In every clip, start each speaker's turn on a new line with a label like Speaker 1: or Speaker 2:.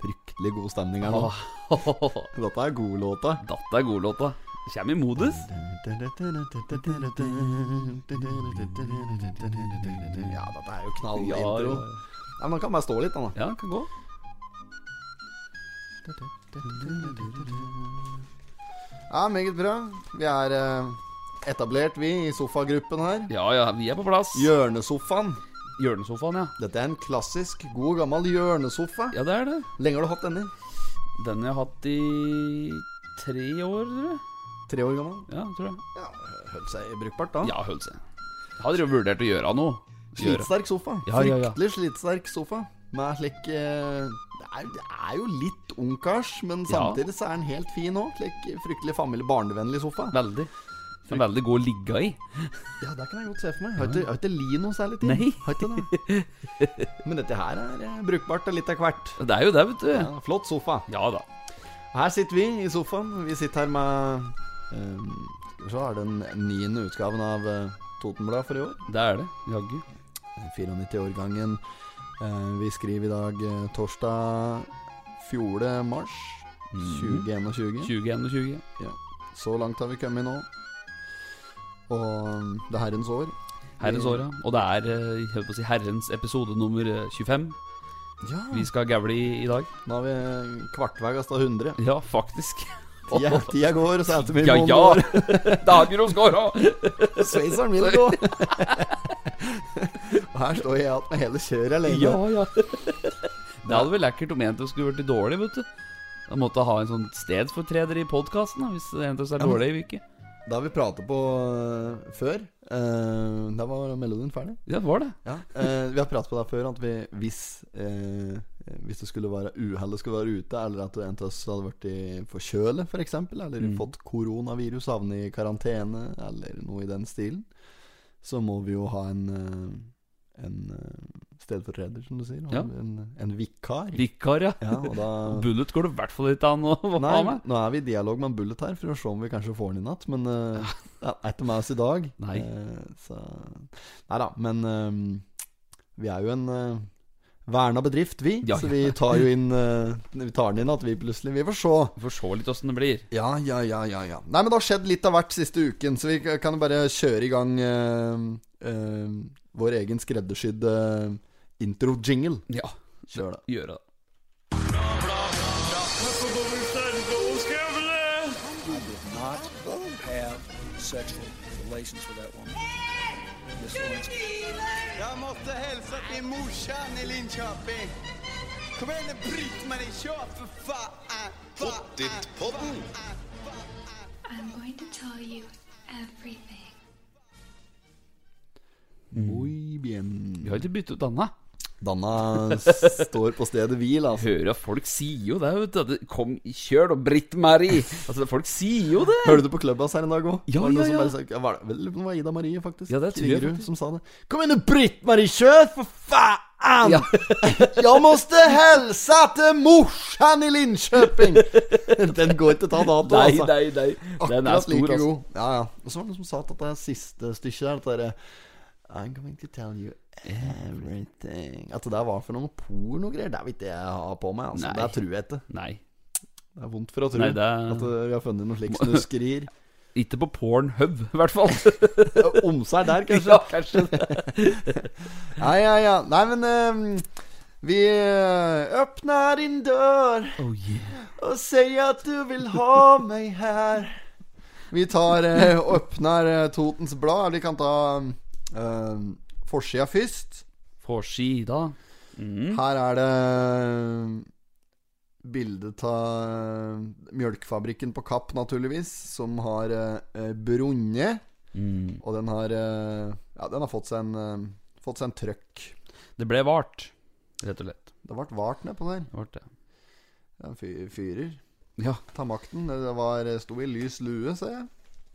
Speaker 1: skikkelig god stemning her nå.
Speaker 2: Åh,
Speaker 1: Dette er god låta.
Speaker 2: Datt er god låt, da. Kjem i modus.
Speaker 1: Ja, dette er jo knall
Speaker 2: Ja,
Speaker 1: intro.
Speaker 2: ja,
Speaker 1: Ja, men han kan bare stå litt, han da.
Speaker 2: Ja, kan gå.
Speaker 1: Ja, meget bra. Vi er eh, etablert, vi, i sofagruppen her.
Speaker 2: Ja, ja, vi er på plass.
Speaker 1: Hjørnesofaen.
Speaker 2: Hjørnesofaen, ja.
Speaker 1: Dette er en klassisk, god gammel hjørnesofa.
Speaker 2: Ja, det er det.
Speaker 1: Lenge har du hatt denne?
Speaker 2: Den jeg har hatt i tre år, tror jeg.
Speaker 1: Tre år gammel?
Speaker 2: Ja, tror jeg.
Speaker 1: Ja, Holdt seg brukbart da.
Speaker 2: Ja, holdt seg. Jeg hadde jo vurdert å gjøre noe. Gjøre.
Speaker 1: Slitsterk sofa.
Speaker 2: Ja, ja, ja.
Speaker 1: Fryktelig slitsterk sofa. Med slik eh, det er, det er jo litt ungkars, men
Speaker 2: Ja.
Speaker 1: samtidig så er den helt fin òg. Slik fryktelig familie-barnevennlig sofa.
Speaker 2: Veldig. Men veldig god å ligge i.
Speaker 1: Ja, det kan jeg godt se for meg. Har ikke, har ikke li noe særlig til.
Speaker 2: Nei.
Speaker 1: Har ikke det. Men dette her er eh, brukbart og litt av hvert.
Speaker 2: Det er jo det, vet du.
Speaker 1: Ja, flott sofa.
Speaker 2: Ja da.
Speaker 1: Her sitter vi i sofaen. Vi sitter her med eh, Skal vi se, er det den niende utgaven av eh, Totenbladet for i år?
Speaker 2: Det er det. Jaggu.
Speaker 1: 94-årgangen. Eh, vi skriver i dag eh, torsdag 4. mars
Speaker 2: Mhm.
Speaker 1: 2021.
Speaker 2: 2021.
Speaker 1: Så langt har vi kommet nå. Og mm, det er herrens år.
Speaker 2: Herrens år, ja. Og det er eh, jeg holdt på å si, herrens episode nummer eh, 25
Speaker 1: Ja,
Speaker 2: vi skal gævle i i dag.
Speaker 1: Nå er vi kvartveis av 100.
Speaker 2: Ja, faktisk.
Speaker 1: Tida, tida går, og så er det mye
Speaker 2: Ja,
Speaker 1: måneder
Speaker 2: ja!
Speaker 1: år.
Speaker 2: Det har ikke noe skåra!
Speaker 1: Sveitseren vil gå. og her står jeg igjen med hele kjøret alene.
Speaker 2: Ja, ja. Det hadde vært lekkert om en av oss skulle vært dårlig, vet du. Da måtte ha en sånn stedsfortreder i podkasten hvis en av oss er
Speaker 1: Ja, men-
Speaker 2: dårlig i uke.
Speaker 1: Det har vi pratet på eh, før. Eh, da var melodien ferdig.
Speaker 2: Ja, det var det.
Speaker 1: Ja, eh, Vi har pratet på det før at vi, hvis, eh, hvis det skulle være uhellet skulle være ute, eller at en av oss hadde vært forkjølet f.eks., eksempel eller
Speaker 2: Mm.
Speaker 1: fått koronavirus, havnet i karantene eller noe i den stilen, så må vi jo ha en, eh, en eh, stedfortreder, som du sier. og
Speaker 2: Ja.
Speaker 1: En, en vikar.
Speaker 2: Vikar, ja.
Speaker 1: Ja, og da
Speaker 2: Bullet går det i hvert fall ikke an å ha
Speaker 1: Nei,
Speaker 2: med.
Speaker 1: nå er vi i dialog med en Bullet her for å se om vi kanskje får den i natt. Men uh, det er ikke med oss i dag.
Speaker 2: Nei.
Speaker 1: Eh, så Nei da, men eh, vi er jo en eh, verna bedrift, vi.
Speaker 2: Ja,
Speaker 1: Så
Speaker 2: ja.
Speaker 1: vi tar jo inn eh, Vi tar den inn at vi plutselig Vi får se.
Speaker 2: Vi får se litt åssen det blir.
Speaker 1: Ja, ja, ja, ja, ja. Nei, men det har skjedd litt av hvert siste uken, så vi kan jo bare kjøre i gang eh, eh, vår egen skreddersydde eh, intro-jingle.
Speaker 2: Ja,
Speaker 1: Kjør det.
Speaker 2: gjøre det.
Speaker 3: not have sexual relations with that woman. Miss Lewinsky.
Speaker 4: Jeg måtte hilse til morsan i Linköping. Kom igjen, Britt-Marie, kjør, for faen! Pottit-podden!
Speaker 5: I'm going to tell you everything.
Speaker 1: Muy bien.
Speaker 2: Vi har ikke byttet ut denne.
Speaker 1: Danna s- står på stedet hvil, altså.
Speaker 2: Hører at folk sier jo det, vet du. at det- Kom, kjør da, Britt-Mari. Altså, folk sier jo det.
Speaker 1: Hørte du på Clubhouse her en dag òg?
Speaker 2: Ja, ja, ja.
Speaker 1: Det var det- vel, det var Ida Marie, faktisk.
Speaker 2: Ja, det tror jeg
Speaker 1: Tvingerud
Speaker 2: faktisk.
Speaker 1: som sa det. Kom igjen, Britt Marie Kjør, for faen!
Speaker 2: Ja.
Speaker 1: Jeg måtte hilse til morsan i Linköping! Den går ikke til å ta dato,
Speaker 2: Nei,
Speaker 1: altså.
Speaker 2: nei, nei. Den er
Speaker 1: Akkurat
Speaker 2: stor,
Speaker 1: like
Speaker 2: altså.
Speaker 1: god. Ja, ja. Og så var det noen som sa at dette siste stykket der, dette derre I'm going to tell you everything At det der var for noe pornogreier, det er ikke det jeg har på meg. Altså.
Speaker 2: Nei.
Speaker 1: Det tror jeg ikke.
Speaker 2: Nei.
Speaker 1: Det er vondt for å tro
Speaker 2: Nei, det er-
Speaker 1: at eh, vi har funnet noe slikt snuskerier.
Speaker 2: Ikke på Pornhub, i hvert fall.
Speaker 1: Omsær der, kanskje.
Speaker 2: Ja, kanskje det.
Speaker 1: Ja, ja, ja. Nei, men ehm, Vi eh, åpner din dør
Speaker 2: Oh, yeah.
Speaker 1: og sier at du vil ha meg her. Vi tar eh, åpner eh, Totens Blad. Eller vi kan ta ehm, forsida først.
Speaker 2: Forsida. Mm.
Speaker 1: Her er det ehm, bilde av mjølkefabrikken ehm, på Kapp, naturligvis, som har eh, brunnet.
Speaker 2: Mm.
Speaker 1: Og den har eh, Ja, den har fått seg en, eh, fått seg en trøkk.
Speaker 2: Det ble vart, rett og slett.
Speaker 1: Det ble vart nedpå der.
Speaker 2: Det ble det.
Speaker 1: Det er en fy- fyrer.
Speaker 2: Ja.
Speaker 1: Ta makten. Det var, sto i lys lue, ser jeg.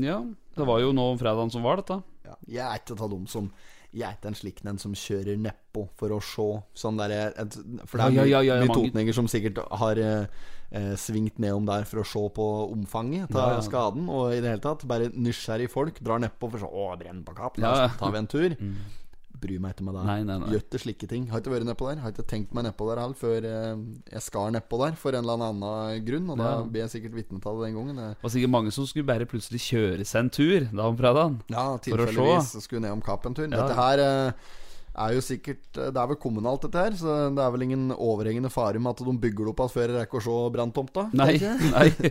Speaker 2: ja. Det var jo nå fredagen som var, dette.
Speaker 1: Ja. Jeg er ikke av dem som Jeg er ikke en slik en som kjører nedpå for å se. Sånn der, jeg- et, for det er
Speaker 2: Ja,
Speaker 1: mye,
Speaker 2: ja, ja, ja,
Speaker 1: mye
Speaker 2: mange-
Speaker 1: totninger som sikkert har eh, eh, svingt nedom der for å se på omfanget av
Speaker 2: Ja, ja.
Speaker 1: skaden. Og i det hele tatt bare nysgjerrige folk drar nedpå for å se Å, brenn på kapp, da
Speaker 2: Ja, ja.
Speaker 1: tar vi en tur. bryr meg ikke med det.
Speaker 2: Nei, nei, nei.
Speaker 1: Gjør ikke slike ting. Har ikke vært nedpå der. Har ikke tenkt meg nedpå der heller før eh, jeg skar nedpå der for en eller annen grunn. Og da
Speaker 2: Ja.
Speaker 1: blir jeg sikkert vitne til det den gangen. Jeg-
Speaker 2: Det var sikkert mange som skulle bare plutselig kjøre seg en tur da om fredagen.
Speaker 1: Ja,
Speaker 2: å
Speaker 1: tilfeldigvis så skulle jeg ned om kapp en tur. Dette her eh, er jo sikkert eh, Det er vel kommunalt, dette her, så det er vel ingen overhengende fare med at de bygger det opp igjen før jeg rekker å se branntomta.
Speaker 2: Nei,
Speaker 1: tenker jeg.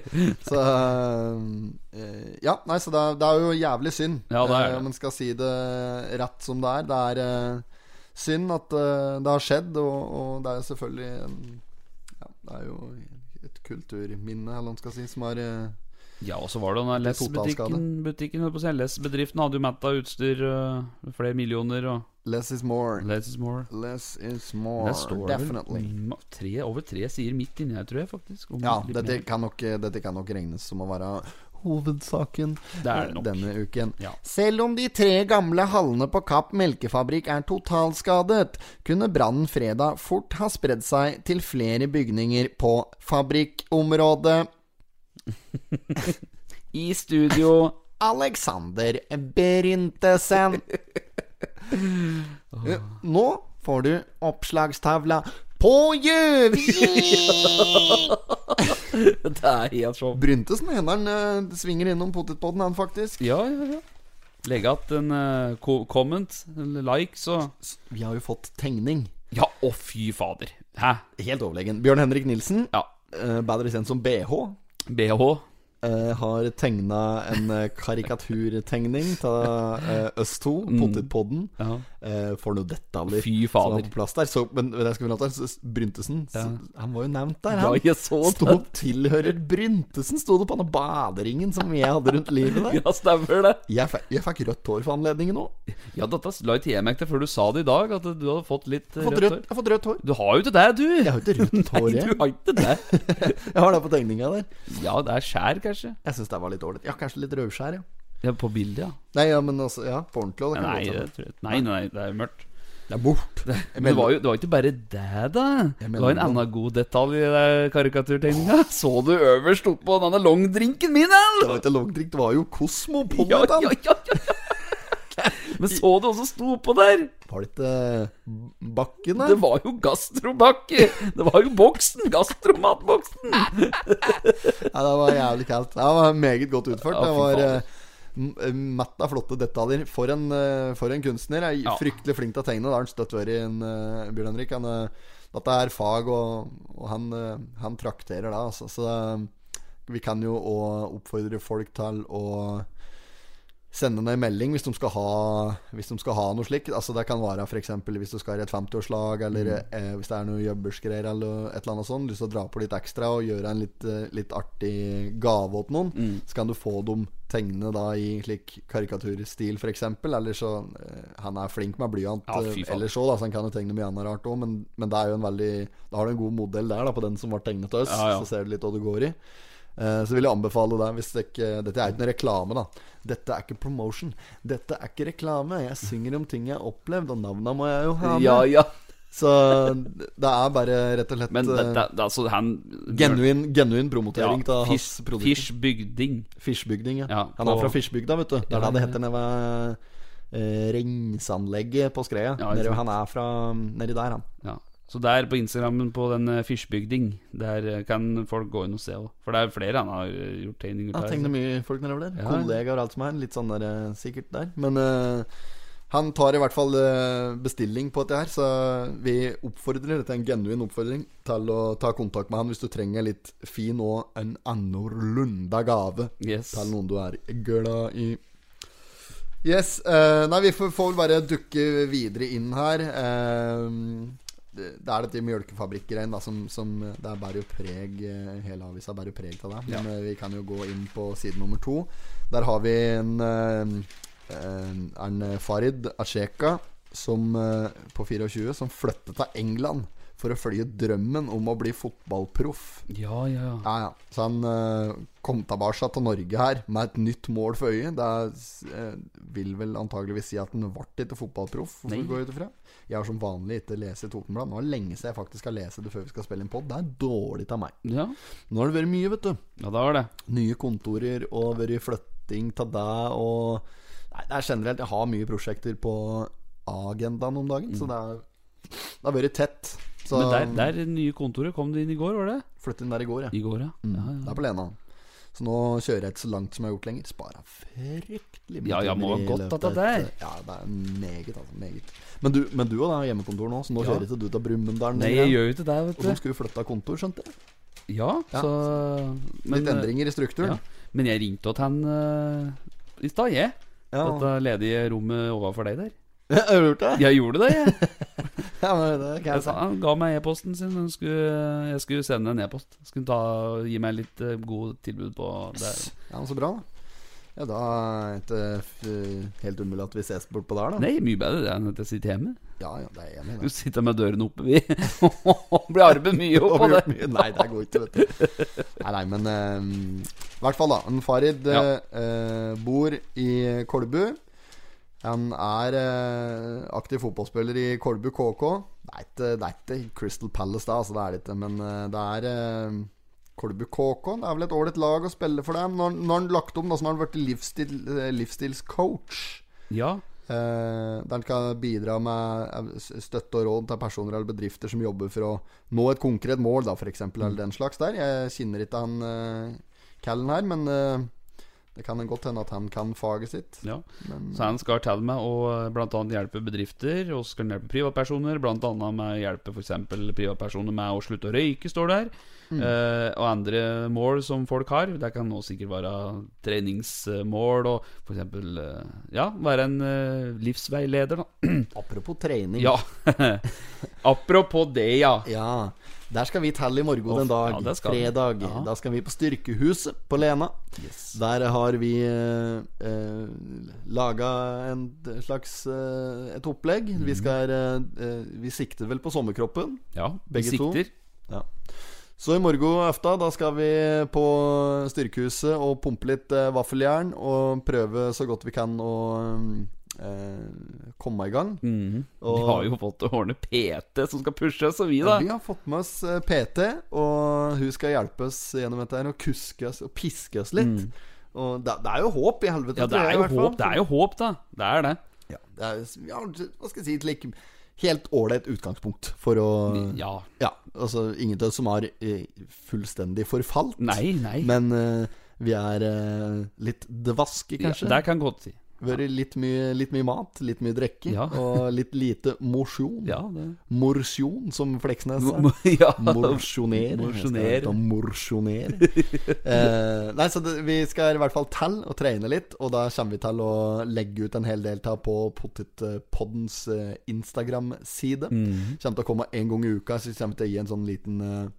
Speaker 2: nei.
Speaker 1: Så eh, Ja, nei, så det er, det er jo jævlig synd.
Speaker 2: Ja, det er det.
Speaker 1: Eh, Om en skal si det rett som det er. Det er eh, synd at eh, det har skjedd, og, og det er jo selvfølgelig eh, Ja, det er jo et kulturminne, eller hva man skal si, som har eh,
Speaker 2: Ja, og så var det den
Speaker 1: Totalskade.
Speaker 2: Les-butikken. Butikken, holdt på å si. Les-bedriften hadde jo metta utstyr, øh, flere millioner og
Speaker 1: Less is more.
Speaker 2: Less is more.
Speaker 1: Less is more.
Speaker 2: Der står det
Speaker 1: Definitely.
Speaker 2: vel mm, tre, over tre sider midt inni her, tror jeg faktisk. om
Speaker 1: Ja,
Speaker 2: litt
Speaker 1: dette
Speaker 2: mer.
Speaker 1: kan, nok, dette kan nok regnes som å være hovedsaken
Speaker 2: Det er det nok.
Speaker 1: denne uken.
Speaker 2: Ja.
Speaker 1: Selv om de tre gamle hallene på Kapp melkefabrikk er totalskadet, kunne brannen fredag fort ha spredd seg til flere bygninger på fabrikkområdet.
Speaker 2: I studio
Speaker 1: Alexander Berintesen.
Speaker 2: Ah.
Speaker 1: Eh, Nå får du oppslagstavla på Gjøvik!
Speaker 2: Det er helt sånn.
Speaker 1: Bryntesen hender han eh, svinger innom potetpodden, han faktisk.
Speaker 2: Ja, ja, ja. Legg att en øh, ko- comment, eller like, så
Speaker 1: Vi har jo fått tegning.
Speaker 2: Ja, å fy fader. Hæ?
Speaker 1: Helt overlegen. Bjørn Henrik Nilsen,
Speaker 2: Ja.
Speaker 1: eh, bedre kjent som BH,
Speaker 2: BH.
Speaker 1: eh, har tegna en eh, karikaturtegning av eh, oss to, Potetpodden.
Speaker 2: Mm. Ja.
Speaker 1: Eh, for noe dette blir.
Speaker 2: Fy
Speaker 1: Som var
Speaker 2: fader.
Speaker 1: på plass der. Så, men men jeg skulle fram til så- så Bryntesen, så, han var jo nevnt der.
Speaker 2: Ja,
Speaker 1: Han
Speaker 2: jeg så det.
Speaker 1: sto tilhører Bryntesen, sto det på den baderingen som jeg hadde rundt livet der.
Speaker 2: Ja, stemmer det.
Speaker 1: Jeg, fe- jeg fikk rødt hår for anledningen òg.
Speaker 2: Ja, dette la ikke jeg merke til før du sa det i dag, at du hadde fått litt eh,
Speaker 1: Jeg
Speaker 2: rødt hår.
Speaker 1: har fått rødt hår.
Speaker 2: Du har jo ikke det, du!
Speaker 1: Jeg har jo ikke rødt hår,
Speaker 2: Nei,
Speaker 1: jeg.
Speaker 2: du har ikke det.
Speaker 1: Jeg har det på tegninga der.
Speaker 2: Ja, det er skjær, kanskje.
Speaker 1: Jeg syns det var litt dårlig. Ja, kanskje litt rødskjær, ja.
Speaker 2: Ja, På bildet, ja.
Speaker 1: Nei, ja, men altså Ja, på ordentlig. og Det kan
Speaker 2: Nei,
Speaker 1: godt
Speaker 2: det,
Speaker 1: hende.
Speaker 2: tror jeg ikke. nei, nei, det er mørkt.
Speaker 1: det er bort.
Speaker 2: Men det var jo det var ikke bare det, da. Det var en
Speaker 1: mellomrom.
Speaker 2: annen god detalj i den karikaturtegninga. Så du øverst oppå denne longdrinken min, eller?
Speaker 1: Det var ikke longdrink, det var jo Cosmopolitan.
Speaker 2: Ja, ja, ja, ja, ja. Men så du også sto oppå der?
Speaker 1: Var det ikke Bakken der?
Speaker 2: Det var jo gastrobakke! Det var jo boksen! Gastromatboksen!
Speaker 1: Ja, det var jævlig kaldt. Det var meget godt utført.
Speaker 2: Ja, fy
Speaker 1: Det var
Speaker 2: faen.
Speaker 1: eh, m- mett av flotte detaljer. For en, eh, for en kunstner. Jeg er
Speaker 2: Ja.
Speaker 1: fryktelig flink til å tegne. Det har han støtt vært i, en, eh, Bjørn Henrik. Han, eh, dette er fag, og, og han, eh, han trakterer det, altså. Så eh, vi kan jo òg oppfordre folk til å Sende ned en melding hvis de skal ha Hvis de skal ha noe slikt. Altså Det kan være for eksempel hvis du skal i et 50-årslag, eller
Speaker 2: Mm.
Speaker 1: eh, hvis det er noe jobbersgreier eller et eller annet sånt. Lyst til å dra på litt ekstra og gjøre en litt, eh, litt artig gave åt noen.
Speaker 2: Mm.
Speaker 1: Så kan du få dem tegne da i slik karikaturstil, for eksempel Eller så eh, Han er flink med blyant
Speaker 2: Ja,
Speaker 1: eh,
Speaker 2: fy faen.
Speaker 1: ellers òg, så han kan jo tegne mye annet rart òg, men, men det er jo en veldig Da har du en god modell der, da, på den som ble tegnet av oss.
Speaker 2: Ja, ja.
Speaker 1: Så ser du litt hva det går i. Eh, Så vil jeg anbefale deg hvis det ikke, Dette er ikke noe reklame, da. Dette er ikke promotion. Dette er ikke reklame. Jeg synger om ting jeg har opplevd, og navna må jeg jo ha med.
Speaker 2: Ja, ja.
Speaker 1: Så det er bare rett og slett
Speaker 2: Men det,
Speaker 1: eh,
Speaker 2: det, det, altså, han
Speaker 1: genuin, genuin promotering av hans
Speaker 2: Fish-
Speaker 1: produkter.
Speaker 2: Fish Bygding.
Speaker 1: Fischbygding, ja.
Speaker 2: Ja,
Speaker 1: Han er
Speaker 2: på-
Speaker 1: fra Fischbygda, vet du. Det er
Speaker 2: Ja,
Speaker 1: det det
Speaker 2: ja.
Speaker 1: heter nede ved eh, renseanlegget på Skreia.
Speaker 2: Ja, ikke
Speaker 1: Nede-
Speaker 2: sant.
Speaker 1: han er fra mm, nedi der, han.
Speaker 2: Ja. Så der på Instagrammen på den eh, Fishbygding, der eh, kan folk gå inn og se òg. For det er flere han har eh, gjort tegninger
Speaker 1: Ja,
Speaker 2: til.
Speaker 1: tegner mye folk nedover der.
Speaker 2: Ja.
Speaker 1: Kollegaer og alt som er. Litt sånn der eh, sikkert der. Men eh, han tar i hvert fall eh, bestilling på dette her, så vi oppfordrer Dette er en genuin oppfordring til å ta kontakt med han hvis du trenger litt fin og en annorlunda gave
Speaker 2: Yes.
Speaker 1: til noen du er glad i. Yes. eh, nei, vi får, får vel bare dukke videre inn her. Eh, det det er dette mjølkefabrikkgreiene da, som, som Det er bærer jo preg eh, Hele avisa bærer jo preg av det. Men eh, vi kan jo gå inn på side nummer to. Der har vi en, eh, en, en Farid Asheka som, eh, på 24 som flyttet til England for å følge drømmen om å bli fotballproff.
Speaker 2: Ja, ja, ja.
Speaker 1: Ja, ja. Så han eh, kom tilbake til Norge her med et nytt mål for øye. Det er, s- eh, vil vel antageligvis si at han ble ikke fotballproff. Hvorfor
Speaker 2: Nei.
Speaker 1: går jeg ut ifra? Jeg har som vanlig ikke lest Totenbladet. Nå er det lenge siden jeg faktisk har lest det før vi skal spille en pod. Det er dårlig av meg.
Speaker 2: Ja,
Speaker 1: Nå har det vært mye, vet du.
Speaker 2: ja det var det.
Speaker 1: Nye kontorer og vært flytting av deg og Nei, det er generelt Jeg har mye prosjekter på agendaen om dagen, så det, er, det har vært tett. Så
Speaker 2: Men der, der nye kontoret kom det inn i går, var det?
Speaker 1: flyttet inn der i går, Mm. ja.
Speaker 2: I går, ja. Ja,
Speaker 1: Det
Speaker 2: ja.
Speaker 1: er på Lena. Så nå kjører jeg ikke så langt som jeg har gjort lenger. Spara fryktelig mye
Speaker 2: Ja, ja, må
Speaker 1: timer i
Speaker 2: ha godt
Speaker 1: løpet
Speaker 2: at det
Speaker 1: av
Speaker 2: er.
Speaker 1: et- Ja, det er meget, altså. Meget. Men du, men du og da har hjemmekontor nå, så nå
Speaker 2: Ja.
Speaker 1: kjører ikke du til Brumunddal.
Speaker 2: Nei,
Speaker 1: lenger.
Speaker 2: jeg gjør jo ikke det,
Speaker 1: Og nå
Speaker 2: vet du.
Speaker 1: skal vi flytte av kontor, skjønte jeg.
Speaker 2: Ja,
Speaker 1: Ja,
Speaker 2: så
Speaker 1: Litt
Speaker 2: eh,
Speaker 1: endringer i strukturen.
Speaker 2: ja. Men jeg ringte til han eh, i stad, jeg.
Speaker 1: Ja,
Speaker 2: Dette ledige rommet overfor deg der.
Speaker 1: Har du gjort det?
Speaker 2: Jeg gjorde det, jeg.
Speaker 1: Ja, men det kan
Speaker 2: jeg
Speaker 1: jeg
Speaker 2: sa,
Speaker 1: si.
Speaker 2: han ga meg e-posten sin. Han skulle, jeg skulle sende en e-post. Skulle ta, gi meg litt eh, god tilbud på det.
Speaker 1: Ja, men så bra, da. Ja, da er det ikke eh, helt umulig at vi ses bortpå der, da.
Speaker 2: Nei, mye bedre det enn at jeg sitter hjemme.
Speaker 1: Ja, ja, det er jeg enig
Speaker 2: Du
Speaker 1: i. det.
Speaker 2: sitter med døren oppe, vi. Blir arbeidet mye opp
Speaker 1: Og
Speaker 2: på
Speaker 1: vi
Speaker 2: det.
Speaker 1: gjort mye. Nei, det går ikke, vet du. Nei, nei, men eh, I hvert fall, da. En Farid eh, eh, bor i Kolbu. Han er eh, aktiv fotballspiller i Kolbu KK. Det er ikke, det er ikke Crystal Palace, da, altså det er det ikke. Men eh, det er eh, Kolbu KK. Det er vel et ålreit lag å spille for dem. Når, når han lagt om, da, så har han blitt livsstil, eh, livsstilscoach.
Speaker 2: Ja,
Speaker 1: Eh, der en kan bidra med eh, s- støtte og råd til personer eller bedrifter som jobber for å nå et konkret mål, da, f.eks. Eller
Speaker 2: Mm.
Speaker 1: den slags der. Jeg kjenner ikke han eh, Callen her, men eh, det kan godt hende at han kan faget sitt.
Speaker 2: ja.
Speaker 1: Men
Speaker 2: Så han skal til meg og bl.a. hjelpe bedrifter, og så skal han hjelpe privatpersoner. Blant annet med å hjelpe f.eks. privatpersoner med å slutte å røyke, står det her.
Speaker 1: Mm.
Speaker 2: Eh, og andre mål som folk har. Det kan nå sikkert være treningsmål og f.eks. Uh, ja, være en eh, livsveileder, da.
Speaker 1: apropos trening
Speaker 2: Ja. Apropos det, ja.
Speaker 1: Ja, Der skal vi telle i morgen
Speaker 2: Å,
Speaker 1: en dag.
Speaker 2: ja, det skal vi.
Speaker 1: fredag.
Speaker 2: Ja.
Speaker 1: Da skal vi på Styrkehuset på Lena. Der har vi eh, eh, laga en slags eh, et opplegg.
Speaker 2: Mm.
Speaker 1: Vi skal eh, eh, Vi sikter vel på sommerkroppen.
Speaker 2: ja
Speaker 1: Begge
Speaker 2: vi
Speaker 1: to.
Speaker 2: sikter.
Speaker 1: Så i morgen aften da skal vi på Styrkehuset og pumpe litt eh, vaffeljern og prøve så godt vi kan å eh, komme i gang.
Speaker 2: Mhm. Vi
Speaker 1: Og-
Speaker 2: har jo fått å ordne PT som skal pushe oss, og vi, da.
Speaker 1: Vi har fått med oss eh, PT, og hun skal hjelpe oss gjennom dette her og kuske oss og piske oss litt. Og det, det er jo håp i helvete.
Speaker 2: Mhm. Ja, det
Speaker 1: tror jeg,
Speaker 2: er
Speaker 1: i
Speaker 2: jo
Speaker 1: hvert fall.
Speaker 2: håp, det er jo håp, da. Det er det.
Speaker 1: Ja, det er, ja, hva skal jeg si, et like, helt ålreit utgangspunkt for å
Speaker 2: Ja.
Speaker 1: Ja, altså ingen av oss som har eh, fullstendig forfalt.
Speaker 2: Nei, nei.
Speaker 1: Men eh, vi er eh, litt dvaske, kanskje.
Speaker 2: Ja, det kan godt si.
Speaker 1: Vært litt mye, litt mye mat, litt mye drikke
Speaker 2: Ja.
Speaker 1: og litt lite mosjon.
Speaker 2: Ja, det
Speaker 1: Morsjon, som Fleksnes sa.
Speaker 2: Mo- ja.
Speaker 1: altså. Morsjoner.
Speaker 2: Morsjoner.
Speaker 1: Jeg skal ut og morsjoner. eh, nei, så det, vi skal i hvert fall til og trene litt, og da kommer vi til å legge ut en hel del av på Potetpoddens eh, Instagram-side.
Speaker 2: Mm.
Speaker 1: Kommer til å komme en gang i uka, så kommer vi til å gi en sånn liten eh,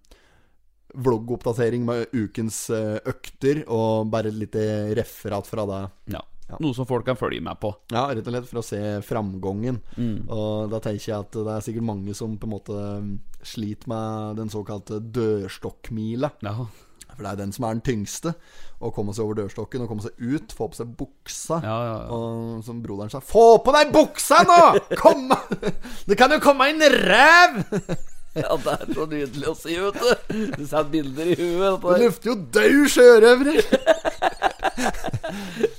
Speaker 1: Vloggoppdatering med ukens eh, økter, og bare et lite referat fra det.
Speaker 2: Ja.
Speaker 1: Ja.
Speaker 2: Noe som folk kan følge med på.
Speaker 1: Ja, rett og slett for å se framgangen. Og da tenker jeg at det er sikkert mange som på en måte eh, sliter med den såkalte dørstokkmila.
Speaker 2: Ja,
Speaker 1: For det er den som er den tyngste. Å komme seg over dørstokken og komme seg ut, få på seg buksa.
Speaker 2: ja, ja. ja.
Speaker 1: Og som broderen sa Få på deg buksa nå! Kom! Det kan jo komme en ræv!
Speaker 2: det er så nydelig å si, vet du. Du setter bilder i huet.
Speaker 1: Det lukter jo død sjørøvere!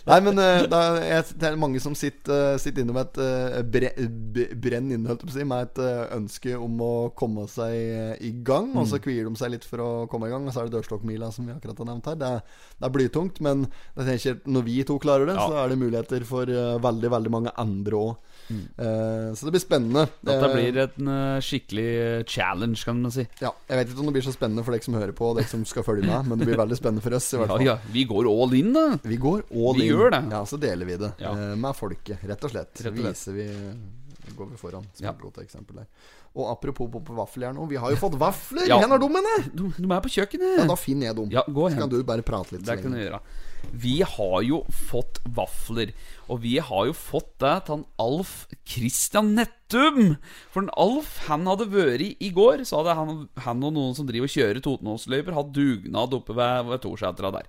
Speaker 1: Nei, men eh, da, jeg, det er mange som sitter, eh, sitter inne med et eh, bre, b, brenn inne, holdt jeg på å si, med et eh, ønske om å komme seg eh, i gang. Og
Speaker 2: Mm.
Speaker 1: så kvier de seg litt for å komme i gang, og så er det dørstokkmila som vi akkurat har nevnt her. Det er, det er blytungt, men jeg tenker at når vi to klarer det,
Speaker 2: Ja.
Speaker 1: så er det muligheter for eh, veldig, veldig mange andre òg. så det blir spennende.
Speaker 2: Dette
Speaker 1: Eh,
Speaker 2: Mm. blir en eh, skikkelig challenge, kan man si.
Speaker 1: ja, Jeg vet ikke om det blir så spennende for dere som hører på, og dere som skal følge med, men det blir veldig spennende for oss. i hvert
Speaker 2: Ja,
Speaker 1: fall
Speaker 2: ja. Vi går all in, da.
Speaker 1: Vi går all
Speaker 2: Vi
Speaker 1: in.
Speaker 2: gjør det.
Speaker 1: Ja, så deler vi det
Speaker 2: Ja.
Speaker 1: eh, med folket, rett og slett.
Speaker 2: Rett og slett.
Speaker 1: Viser vi Går vi foran som
Speaker 2: Ja.
Speaker 1: et godt eksempel der. Og apropos på, på vaffeljern nå, vi har jo fått vafler!
Speaker 2: Ja.
Speaker 1: Hvor har de henne?
Speaker 2: De, de er på
Speaker 1: Ja,
Speaker 2: kjøkkenet.
Speaker 1: da finner jeg dem.
Speaker 2: Ja, gå
Speaker 1: så
Speaker 2: hen.
Speaker 1: kan du bare prate litt.
Speaker 2: Det
Speaker 1: så
Speaker 2: kan du
Speaker 1: lenge.
Speaker 2: gjøre. Vi har jo fått vafler, og vi har jo fått det til han Alf Christian Nettum. For den Alf han hadde vært i går, så hadde han, han og noen som driver og kjører Totenåsløyper, hatt dugnad oppe ved, ved Torsetra der.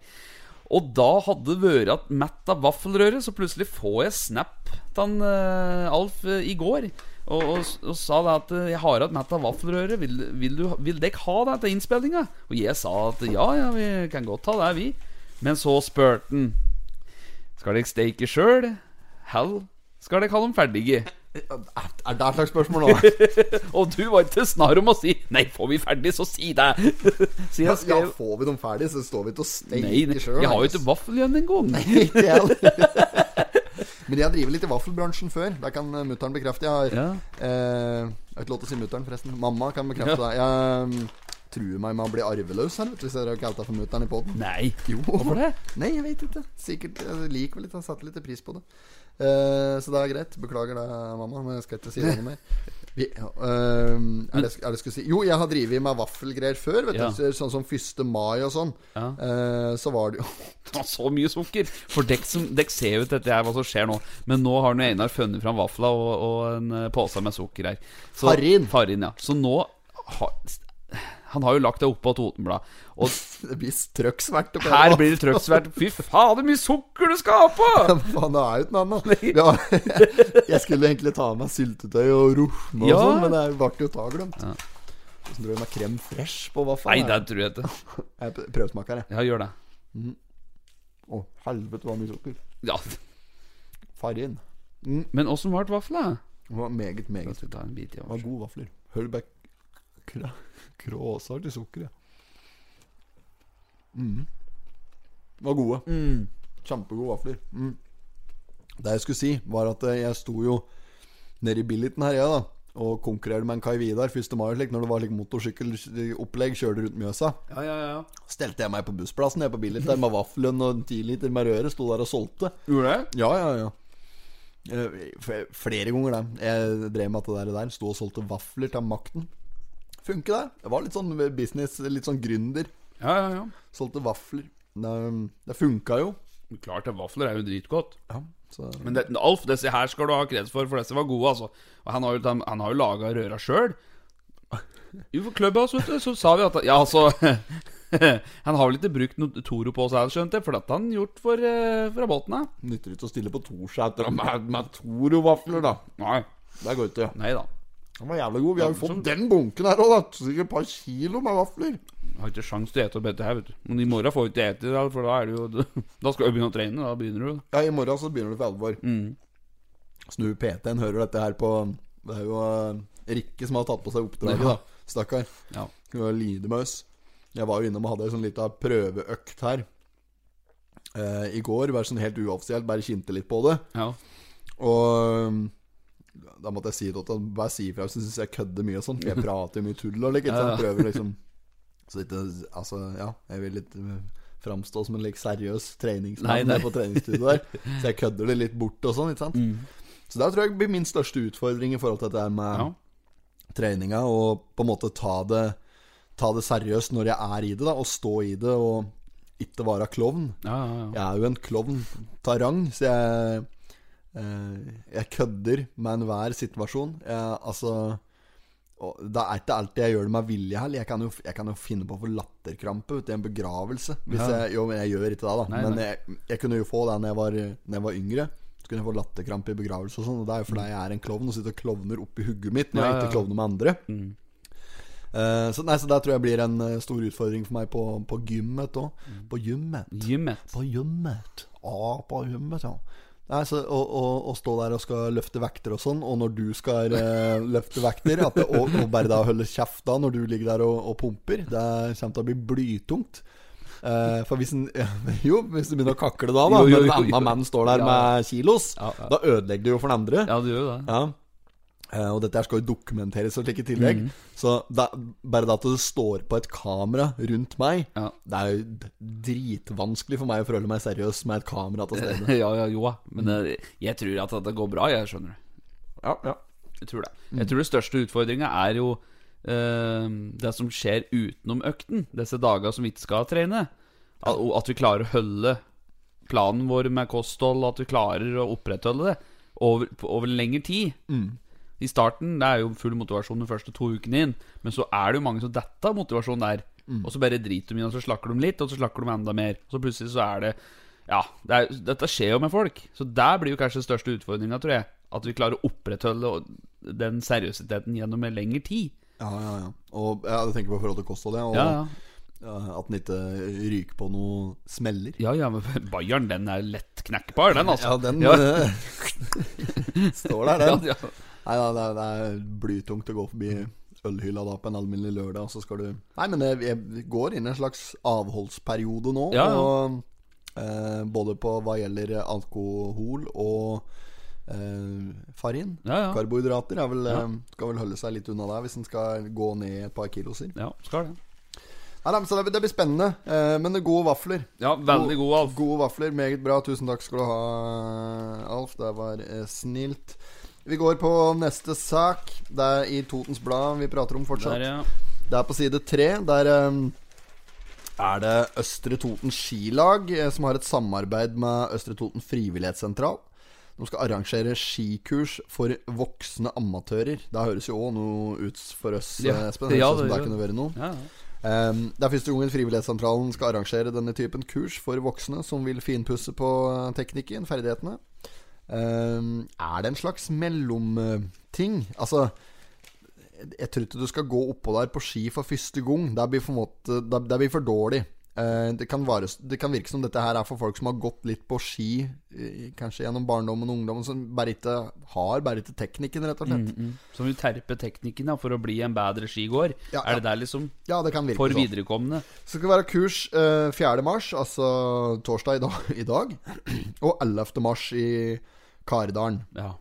Speaker 2: Og da hadde det vært at mett av vaffelrøre, så plutselig får jeg snap til han eh, Alf eh, i går. Og, og, og sa det at eh, 'jeg har hatt mett av vaffelrøre, vil, vil, du- vil dere ha det til innspillinga?' Og jeg sa at 'ja, ja, vi kan godt ha det, vi'. Men så spurte han 'skal dere steke sjøl'? Hell, skal dere ha dem ferdige?
Speaker 1: Er er det et slags spørsmål nå?
Speaker 2: Og du var ikke snar om å si 'Nei, får vi ferdig, så si det'. Så jeg
Speaker 1: Ja,
Speaker 2: skrev
Speaker 1: får vi dem ferdig, så står vi ikke og
Speaker 2: Nei,
Speaker 1: steiker
Speaker 2: nei,
Speaker 1: sjøl.
Speaker 2: jeg har jo ikke vaffel igjen engang.
Speaker 1: Ikke jeg heller. Men jeg har drevet litt i vaffelbransjen før. Der kan eh, mutter'n bekrefte. Jeg har
Speaker 2: Ja.
Speaker 1: eh, Jeg har ikke lov til å si mutter'n, forresten. Mamma kan bekrefte det. Jeg mm, truer meg med å bli arveløs her, vet du, hvis jeg har kalt deg for mutter'n i poden.
Speaker 2: Nei.
Speaker 1: Jo.
Speaker 2: Hvorfor det?
Speaker 1: Nei, jeg vet ikke. Sikkert eh, jeg liker vel litt. Jeg satte litt pris på det. Eh, så det er greit. Beklager det, mamma, men jeg skal ikke si det noe mer. Vi, ja, ehm, er, det, er det jeg skulle si Jo, jeg har drevet med vaffelgreier før. Vet
Speaker 2: Ja.
Speaker 1: du, sånn som 1. mai og sånn.
Speaker 2: Ja.
Speaker 1: Eh, så var det jo
Speaker 2: Ta så mye sukker. For dekk, som, dekk ser jo ut dette her, hva som skjer nå. Men nå har nå Einar funnet fram vafla og, og en eh, pose med sukker her. Så,
Speaker 1: Farin.
Speaker 2: Farin, ja. Så nå har han har jo lagt det oppå Totenblad. Og
Speaker 1: Det blir strøksvert. oppi her.
Speaker 2: her blir det trøkksvært. Fy faen, det er mye sukker du skal ha på!
Speaker 1: Faen, det er jo ikke noe annet. Ja, jeg skulle egentlig ta med syltetøy og rosme og
Speaker 2: Ja.
Speaker 1: sånn, men det ble jo ta glemt. Hvordan tror du med krem fresh på hva
Speaker 2: Nei,
Speaker 1: faen?
Speaker 2: det tror jeg ikke.
Speaker 1: Jeg pr- prøvsmaker, jeg.
Speaker 2: Ja, gjør det.
Speaker 1: Å, helvete, hva mye sukker.
Speaker 2: Ja.
Speaker 1: Farin.
Speaker 2: Men åssen ble vafla?
Speaker 1: Det var meget,
Speaker 2: Jeg
Speaker 1: meget
Speaker 2: skal ta en bit i
Speaker 1: Det var
Speaker 2: vafla.
Speaker 1: gode vafler. Hullback Kråsar til sukkeret. Mm. Var gode. Kjempegode vafler. Mm. Det jeg skulle si, var at eh, jeg sto jo nede i billiten her, jeg, da. Og konkurrerte med en Kai Vidar 1. mai og slik, når det var like, motorsykkelopplegg, kjørte rundt Mjøsa.
Speaker 2: Ja, ja, ja.
Speaker 1: Stelte jeg meg på bussplassen, jeg på billit der med vaffelen og en 10 liter med røre, sto der og solgte.
Speaker 2: Gjorde det?
Speaker 1: Ja, ja, ja. Eh, f- Flere ganger, det. Jeg drev med det der, der. Sto og solgte vafler til makten. Funker det? Det var litt sånn business, litt sånn gründer.
Speaker 2: Ja, ja, ja.
Speaker 1: Solgte vafler. Det, det funka jo.
Speaker 2: Klart det, vafler er jo dritgodt.
Speaker 1: Ja, så
Speaker 2: Men det, Alf, disse her skal du ha kreds for, for disse var gode, altså. Og han har jo, han- han har jo laga røra sjøl. Jo, for klubba, så, så sa vi at Ja, altså Han har vel ikke brukt noe Toro på seg, skjønte jeg, for dette har han gjort for, eh, fra båten av.
Speaker 1: nytter ikke å stille på Torsæter med, med Toro-vafler, da.
Speaker 2: Nei.
Speaker 1: Det går ikke.
Speaker 2: Nei da.
Speaker 1: Den var jævla god. Vi har jo fått den bunken her òg, da. Sikkert et par kilo med vafler.
Speaker 2: Jeg har ikke sjans til å ete opp dette her, vet du. Men i morgen får vi ikke ete, da, for da er det jo Da skal du begynne å trene. Da begynner du.
Speaker 1: Ja, i morgen så begynner det for alvor. Snu PT-en hører dette her på Det er jo eh, Rikke som har tatt på seg oppdraget,
Speaker 2: Ja.
Speaker 1: da. Stakkar.
Speaker 2: Ja.
Speaker 1: Hun var lidemaus. Jeg var jo innom og hadde ei sånn lita prøveøkt her eh, i går. Bare sånn helt uoffisielt, bare kjente litt på det.
Speaker 2: Ja.
Speaker 1: Og um, da måtte jeg si det til han. Bare si ifra hvis du syns jeg kødder mye og sånn. For jeg prater jo mye tull og like, ikke sant. Prøver liksom Så ikke Altså, ja. Jeg vil litt uh, framstå som en like seriøs
Speaker 2: Nei,
Speaker 1: treningsmann
Speaker 2: nei.
Speaker 1: der på treningsstudioet der. Så jeg kødder det litt bort og sånn, ikke sant. Så det tror jeg blir min største utfordring i forhold til dette her med
Speaker 2: Mm. Ja.
Speaker 1: treninga, og på en måte ta det Ta det seriøst når jeg er i det, da, og stå i det, og ikke være klovn.
Speaker 2: Ja, ja, ja.
Speaker 1: Jeg er jo en klovn av rang, så jeg eh, Jeg kødder med enhver situasjon. Jeg, altså og Det er ikke alltid jeg gjør det med vilje heller. Jeg, kan jo- jeg kan jo finne på å få latterkrampe ute i en begravelse. Hvis jeg, jo, men jeg gjør ikke det, da.
Speaker 2: Nei,
Speaker 1: men
Speaker 2: nei.
Speaker 1: Jeg, jeg kunne jo få det da jeg var, når jeg var yngre. Så kunne jeg få latterkrampe i begravelse og sånn. Og det er jo fordi jeg er en klovn og sitter og klovner oppi hugget mitt når
Speaker 2: Mm. Ja,
Speaker 1: jeg
Speaker 2: ja, Mm.
Speaker 1: ikke
Speaker 2: ja.
Speaker 1: klovner med andre. Eh, så, nei, så det tror jeg blir en eh, stor utfordring for meg på, på gymmet òg.
Speaker 2: Mm.
Speaker 1: På gymmet.
Speaker 2: Gymmet.
Speaker 1: På gymmet. Ja, på gymmet, ja. Nei, så, å, å, å stå der og skal løfte vekter og sånn, og når du skal eh, løfte vekter at det, og, og bare da holde kjeft da når du ligger der og, og pumper, det kommer til å bli blytungt. Eh, for hvis en Jo, hvis du begynner å kakle da, da
Speaker 2: Jo, jo,
Speaker 1: når en
Speaker 2: jo, jo.
Speaker 1: annen mann står der
Speaker 2: Ja.
Speaker 1: med kilos,
Speaker 2: Ja, ja.
Speaker 1: da ødelegger du jo for den andre.
Speaker 2: Ja, du gjør jo det.
Speaker 1: Ja. Eh, Og dette her skal jo dokumenteres og slik i tillegg.
Speaker 2: Mm.
Speaker 1: Så da, bare det at det står på et kamera rundt meg
Speaker 2: Ja.
Speaker 1: Det er jo d- dritvanskelig for meg å forholde meg seriøs med et kamera til stede.
Speaker 2: ja, ja, jo da. Men eh, jeg tror at det går bra, jeg skjønner det.
Speaker 1: Mm. Ja, ja. Mm.
Speaker 2: Jeg tror det. Jeg tror det største utfordringa er jo eh, det som skjer utenom økten. Disse dager som vi ikke skal trene. At, og at vi klarer å holde planen vår med kosthold, at vi klarer å opprettholde det over, på- over lengre tid.
Speaker 1: Mm.
Speaker 2: I starten det er jo full motivasjon de første to ukene inn, men så er det jo mange som detter av motivasjon der.
Speaker 1: Mm.
Speaker 2: Og så bare driter de i det, og så slakker de litt, og så slakker de enda mer. Og så plutselig så er det Ja, det er, dette skjer jo med folk. Så der blir jo kanskje den største utfordringa, tror jeg. At vi klarer å opprettholde den seriøsiteten gjennom en lengre tid.
Speaker 1: ja, ja, ja. Og ja, jeg tenker på forhold til kosthold, ja. Og
Speaker 2: Ja, ja.
Speaker 1: ja, at den ikke ryker på noe smeller.
Speaker 2: Ja, ja, men Bayern, den er lett knekkbar, den, altså.
Speaker 1: Ja, den
Speaker 2: Ja.
Speaker 1: eh, står der, den.
Speaker 2: Ja, ja.
Speaker 1: Nei, da, det, er, det er blytungt å gå forbi ølhylla da på en alminnelig lørdag, og så skal du Nei, men jeg, jeg går inn i en slags avholdsperiode nå.
Speaker 2: Ja, ja.
Speaker 1: Og, eh, både på hva gjelder alkohol og eh, farin.
Speaker 2: Ja, ja.
Speaker 1: Karbohydrater er vel, eh, skal vel holde seg litt unna der hvis en skal gå ned et par kiloser.
Speaker 2: ja, skal det.
Speaker 1: Nei, nei, men så det, det blir spennende. Eh, men det er gode vafler.
Speaker 2: Ja, veldig god, Alf.
Speaker 1: Gode vafler, meget bra. Tusen takk skal du ha, Alf. Det var eh, snilt. Vi går på neste sak. Det er i Totens Blad vi prater om fortsatt.
Speaker 2: Der, ja.
Speaker 1: Det er på side tre. Der eh, er det Østre Toten Skilag eh, som har et samarbeid med Østre Toten Frivillighetssentral. De skal arrangere skikurs for voksne amatører. Det høres jo òg noe ut for oss,
Speaker 2: Ja.
Speaker 1: eh, Espen. Det høres
Speaker 2: Ja,
Speaker 1: ut som
Speaker 2: det
Speaker 1: det
Speaker 2: gjør
Speaker 1: kunne vært noe.
Speaker 2: Ja, ja.
Speaker 1: Ehm, Det er første gangen Frivillighetssentralen skal arrangere denne typen kurs for voksne som vil finpusse på eh, teknikken, ferdighetene. Ehm, Er det en slags mellomting? Altså jeg- Jeg tror ikke du skal gå oppå der på ski for første gang. Det blir, på en måte, det, det blir for dårlig. Eh, Det kan, vare, det kan virke som dette her er for folk som har gått litt på ski, eh, kanskje gjennom barndommen og ungdommen, som bare ikke har bare ikke teknikken, rett og slett.
Speaker 2: Mm. Som vil terpe teknikken da, for å bli en bedre skigåer.
Speaker 1: Ja,
Speaker 2: Er det der liksom
Speaker 1: Ja, det kan virke
Speaker 2: for
Speaker 1: sånn.
Speaker 2: viderekomne?
Speaker 1: Så skal det være kurs eh, 4. mars, altså torsdag i dag, i dag og 11. mars i Karidalen.
Speaker 2: Ja.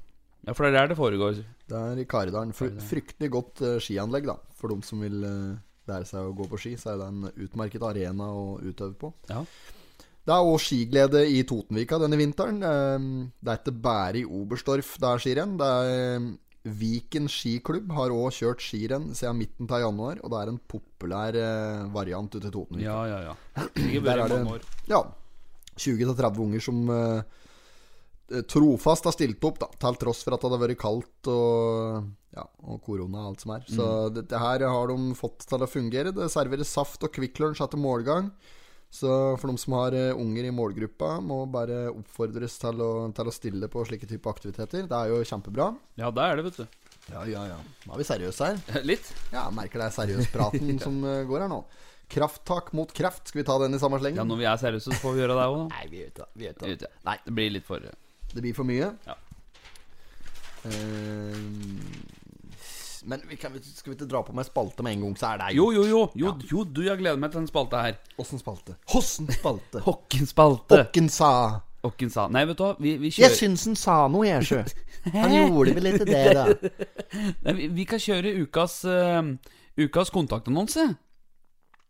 Speaker 2: ja, for det er der det foregår.
Speaker 1: Det er i Karidalen. Fry- Fryktelig godt eh, skianlegg, da. For dem som vil eh, lære seg å gå på ski, så er det en utmerket arena å utøve på.
Speaker 2: Ja.
Speaker 1: Det er òg skiglede i Totenvika denne vinteren. Eh, Det er ikke bare i Oberstdorf det er skirenn. Det er eh, Viken skiklubb har òg kjørt skirenn siden midten av januar, og det er en populær eh, variant ute i Totenvika.
Speaker 2: Ja, ja, ja. Ligger
Speaker 1: Der
Speaker 2: bare
Speaker 1: er det-
Speaker 2: mange år.
Speaker 1: Ja. 20-30 unger som eh, trofast har stilt opp, da. Til tross for at det har vært kaldt og, ja, og korona og alt som er. Så dette her har de fått til å fungere. Det serveres saft og Kvikk Lunsj etter målgang. Så for de som har eh, unger i målgruppa, må bare oppfordres til å, til å stille på slike type aktiviteter. Det er jo kjempebra.
Speaker 2: Ja, det er det, vet du.
Speaker 1: Ja, ja, ja. Nå er vi seriøse her.
Speaker 2: Litt.
Speaker 1: Ja, jeg merker det er seriøspraten som eh, går her nå. Krafttak mot kreft. Skal vi ta den i samme
Speaker 2: Ja,
Speaker 1: slengen?
Speaker 2: når vi er seriøse, så får vi gjøre det òg, da.
Speaker 1: Nei, vi gjør ikke det. Vi gjør ikke
Speaker 2: Det
Speaker 1: det.
Speaker 2: vet jeg. Det blir litt for
Speaker 1: Det blir for mye.
Speaker 2: Ja.
Speaker 1: Eh, men vi kan, skal vi ikke dra på med spalte med en gang, så er det
Speaker 2: Jo, jo, jo. Jo, jo du, jeg gleder meg til den spalta her.
Speaker 1: Åssen spalte? Åssen spalte?
Speaker 2: Hokken spalte.
Speaker 1: Åkken sa
Speaker 2: Hokken sa Nei, vet du hva, vi, vi
Speaker 1: Jeg
Speaker 2: kjører
Speaker 1: syns han sa noe, jeg, sjø. Han gjorde vel ikke det, da.
Speaker 2: Nei, vi, vi kan kjøre ukas eh, Ukas kontaktannonse.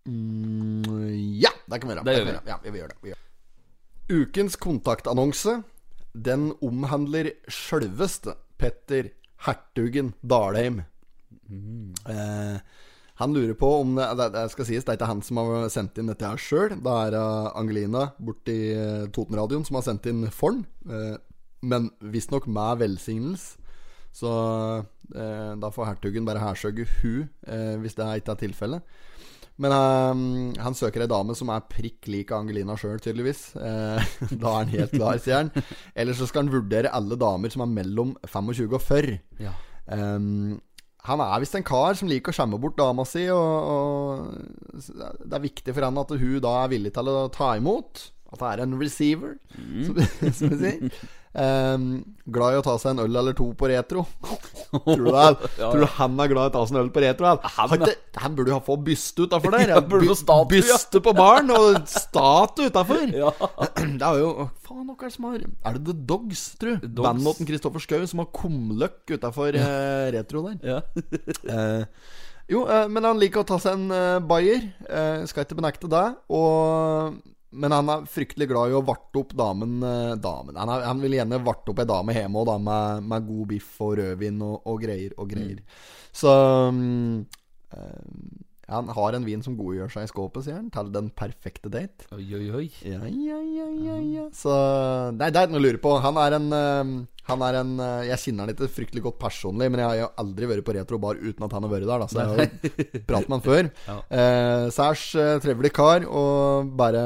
Speaker 1: Mm, ja, det kan vi gjøre.
Speaker 2: Det
Speaker 1: kan
Speaker 2: gjør vi.
Speaker 1: gjøre. Ja, vi gjør det. Vi gjør. det. Ukens kontaktannonse, den omhandler sjølveste Petter hertugen Dalheim. Eh, han lurer på om det, det, det skal sies, det er ikke han som har sendt inn dette her sjøl. Det er eh, Angelina borti eh, Totenradioen som har sendt inn for den. Eh, men visstnok med velsignelse. Så eh, da får hertugen bare hærsøge hu eh, hvis det ikke er tilfellet. Men ehm, han søker ei dame som er prikk lik Angelina sjøl, tydeligvis. Eh, da er han helt klar, sier han. Eller så skal han vurdere alle damer som er mellom 25 og 40.
Speaker 2: Ja.
Speaker 1: Ehm, han er visst en kar som liker å skjemme bort dama si, og, og det er viktig for han at hun da er villig til å ta imot. At det er en receiver,
Speaker 2: Mm.
Speaker 1: som, som vi sier. Ehm, glad i å ta seg en øl eller to på retro. Tror du, det er,
Speaker 2: Ja, ja.
Speaker 1: tror du han er glad i å ta seg en øl på retro? Han,
Speaker 2: Han,
Speaker 1: Har ikke- han burde jo ha få byste utafor der.
Speaker 2: Ja, burde få statue,
Speaker 1: By- byste på baren og statue utafor.
Speaker 2: Ja.
Speaker 1: Det er jo å, Faen, hva er det som har Er det The Dogs, tru?
Speaker 2: Dogs.
Speaker 1: Bandlåten Kristoffer Schou som har kumløkk utafor retro der.
Speaker 2: ja.
Speaker 1: Eh, jo, eh, men han liker å ta seg en eh, bayer. Eh, skal ikke benekte det. Og, men han er fryktelig glad i å varte opp damen. Eh, damen. Han, er, han vil gjerne varte opp ei dame hjemme og da med, med god biff og rødvin og, og greier og greier. Så mm, eh, han har en vin som godgjør seg i skåpet, sier han, til den perfekte date.
Speaker 2: Oi, oi, oi.
Speaker 1: Ja, ja, ja, ja, ja. Så Nei, det er ikke noe å lure på. Han er en eh, Han er en eh, Jeg kjenner han ikke fryktelig godt personlig, men jeg har jo aldri vært på retrobar uten at han har vært der, da. Så jeg har jo pratet med han før.
Speaker 2: Ja.
Speaker 1: Eh, særs eh, trevelig kar, og bare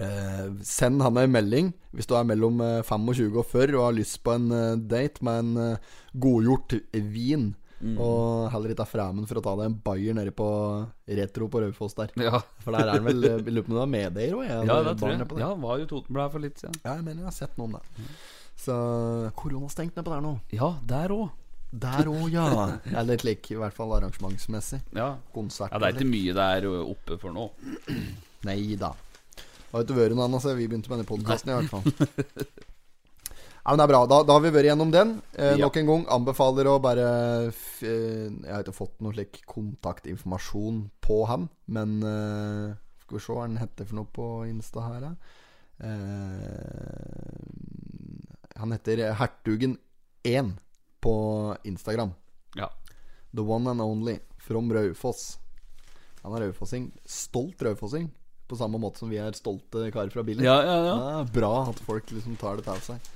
Speaker 1: eh, Send han ei melding hvis du er mellom eh, 25 og 40 og har lyst på en eh, date med en eh, godgjort vin.
Speaker 2: Mm.
Speaker 1: Og heller ikke er fremmed for å ta deg en bayer nede på eh, Retro på Raufoss der.
Speaker 2: Ja.
Speaker 1: For der er han vel eh, Jeg lurer på om det var Medeier òg?
Speaker 2: Ja, det tror jeg. Ja, Mm. han var jo Totenbladet for litt siden.
Speaker 1: Ja, jeg mener jeg har sett noe om det. Så koronastengt nedpå der nå.
Speaker 2: Ja, der òg.
Speaker 1: Der òg, ja. Eller slik, i hvert fall arrangementsmessig.
Speaker 2: Ja.
Speaker 1: Konsert.
Speaker 2: ja, det er ikke mye der oppe for nå.
Speaker 1: Nei da. Det har ikke vært noe annet siden vi begynte med denne podkasten, i hvert fall. Ja, men det er bra. Da, da har vi vært gjennom den. Eh,
Speaker 2: Ja.
Speaker 1: Nok en gang anbefaler å bare f, eh, Jeg har ikke fått noe slik kontaktinformasjon på han, men eh, Skal vi se hva han heter for noe på Insta her, da. Eh, han heter Hertugen1 på Instagram.
Speaker 2: Ja.
Speaker 1: The one and only from Raufoss. Han er raufossing. Stolt raufossing. På samme måte som vi er stolte karer fra Billy.
Speaker 2: Ja, ja, ja.
Speaker 1: Det er bra at folk liksom tar det til seg.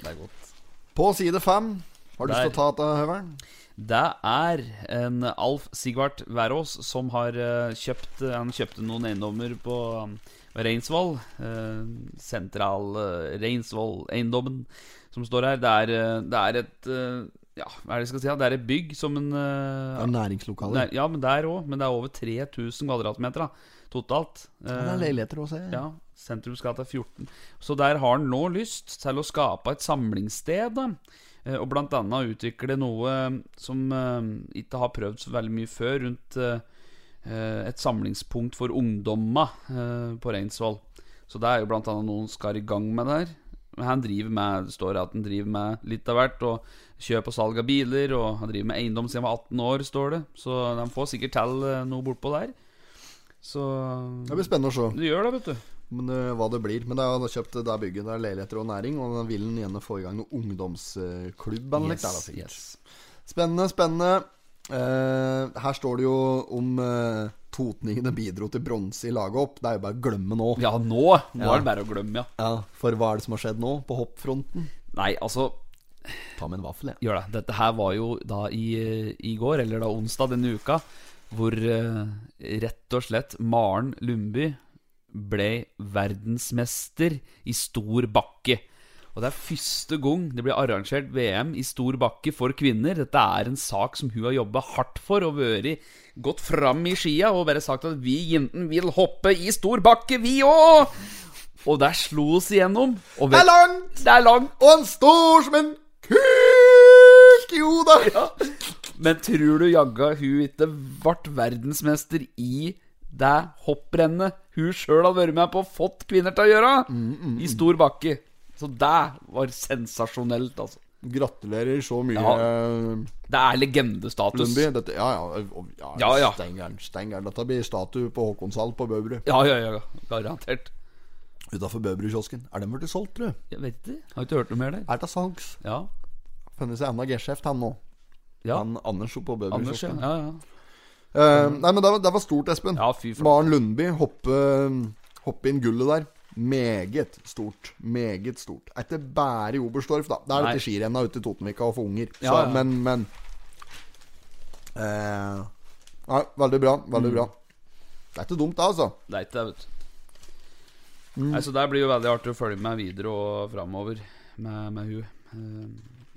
Speaker 2: Det er godt.
Speaker 1: På side fem har du lyst til å
Speaker 2: Der.
Speaker 1: ta dette, Høveren?
Speaker 2: Det er en Alf Sigvart Wærås som har eh, kjøpt Han kjøpte noen eiendommer på um, Reinsvoll. eh, sentral eh, Reinsvoll-eiendommen som står her. Det er, eh, det er et eh, Ja, hva er det jeg skal si? da? Det er et bygg som en eh,
Speaker 1: Det er næringslokaler.
Speaker 2: Nei, ja, men der òg. Men det er over 3000 kvadratmeter da, totalt.
Speaker 1: Ja, det er
Speaker 2: Eh,
Speaker 1: leiligheter også. Ja.
Speaker 2: ja, Sentrumsgata 14. Så der har han nå lyst til å skape et samlingssted. da Eh, Og blant annet utvikle noe som eh, ikke har prøvd så veldig mye før, rundt eh, eh, et samlingspunkt for ungdomma eh, på Reinsvoll. Så det er jo blant annet noen skal i gang med der. Men Han driver med, det står at han driver med litt av hvert, og kjøp og salg av biler, og han driver med eiendom siden han var 18 år, står det. Så han får sikkert til eh, noe bortpå der. Så
Speaker 1: Det blir spennende å se
Speaker 2: Du gjør det, vet du.
Speaker 1: men, eh, hva det blir. Men det er, han har kjøpt det der bygget. Det er leiligheter og næring. Og da vil han gjerne få i gang noen ungdomsklubb. eller noe der, da, sikkert. Spennende, spennende. Eh, her står det jo om eh, totningene bidro til bronse i laget opp. Det er jo bare å glemme nå.
Speaker 2: Ja, nå, nå er det bare å glemme, ja.
Speaker 1: Ja, For hva er det som har skjedd nå, på hoppfronten?
Speaker 2: Nei, altså,
Speaker 1: Ta med en vaffel, jeg.
Speaker 2: gjør det. Dette her var jo da i, i går, eller da onsdag denne uka, hvor eh, rett og slett Maren Lundby ble verdensmester i stor bakke. Og det er første gang det blir arrangert VM i stor bakke for kvinner. Dette er en sak som hun har jobba hardt for og vært gått fram i skia og bare sagt at vi jentene vil hoppe i stor bakke, vi òg! Og der slo oss igjennom. Og
Speaker 1: Det er langt!
Speaker 2: Det er langt!
Speaker 1: Og han står som en kuk! Jo da!
Speaker 2: Men tror du jagga hun ikke ble verdensmester i det hopprennet hun sjøl hadde vært med på og fått kvinner til å gjøre? I stor bakke. Så det var sensasjonelt, altså.
Speaker 1: Gratulerer så mye,
Speaker 2: Ja.
Speaker 1: eh,
Speaker 2: Det er legendestatus.
Speaker 1: Lundby. Dette, ja, ja, og- ja,
Speaker 2: Ja, ja.
Speaker 1: Stengeren, stengeren. Dette blir statue på Håkonshall på Bøbru.
Speaker 2: Ja, ja, ja. Garantert.
Speaker 1: Utafor Bøbrukiosken. Er den blitt solgt, tru?
Speaker 2: Jeg vet ikke. Har ikke hørt noe mer der.
Speaker 1: Er det salgs?
Speaker 2: Ja.
Speaker 1: Funnet seg enda geskjeft, han nå.
Speaker 2: ja.
Speaker 1: Han Anders på
Speaker 2: Anders, ja.
Speaker 1: Bøbrukiosken.
Speaker 2: ja, ja.
Speaker 1: Eh, nei, men det var, det var stort, Espen.
Speaker 2: Ja, fy flate.
Speaker 1: Maren Lundby hoppe, hoppe inn gullet der. Meget stort. Meget stort. Er ikke bare i Oberstdorf, da. Det er
Speaker 2: Nei.
Speaker 1: dette skirenna ute i Totenvika og for unger. Så,
Speaker 2: Ja, ja.
Speaker 1: Men, men eh, Nei, veldig bra. Veldig bra.
Speaker 2: Mm.
Speaker 1: Det er ikke dumt, det, altså.
Speaker 2: Det er ikke det, vet du. Nei, så det blir jo veldig artig å følge med videre og framover med, med hun. Eh,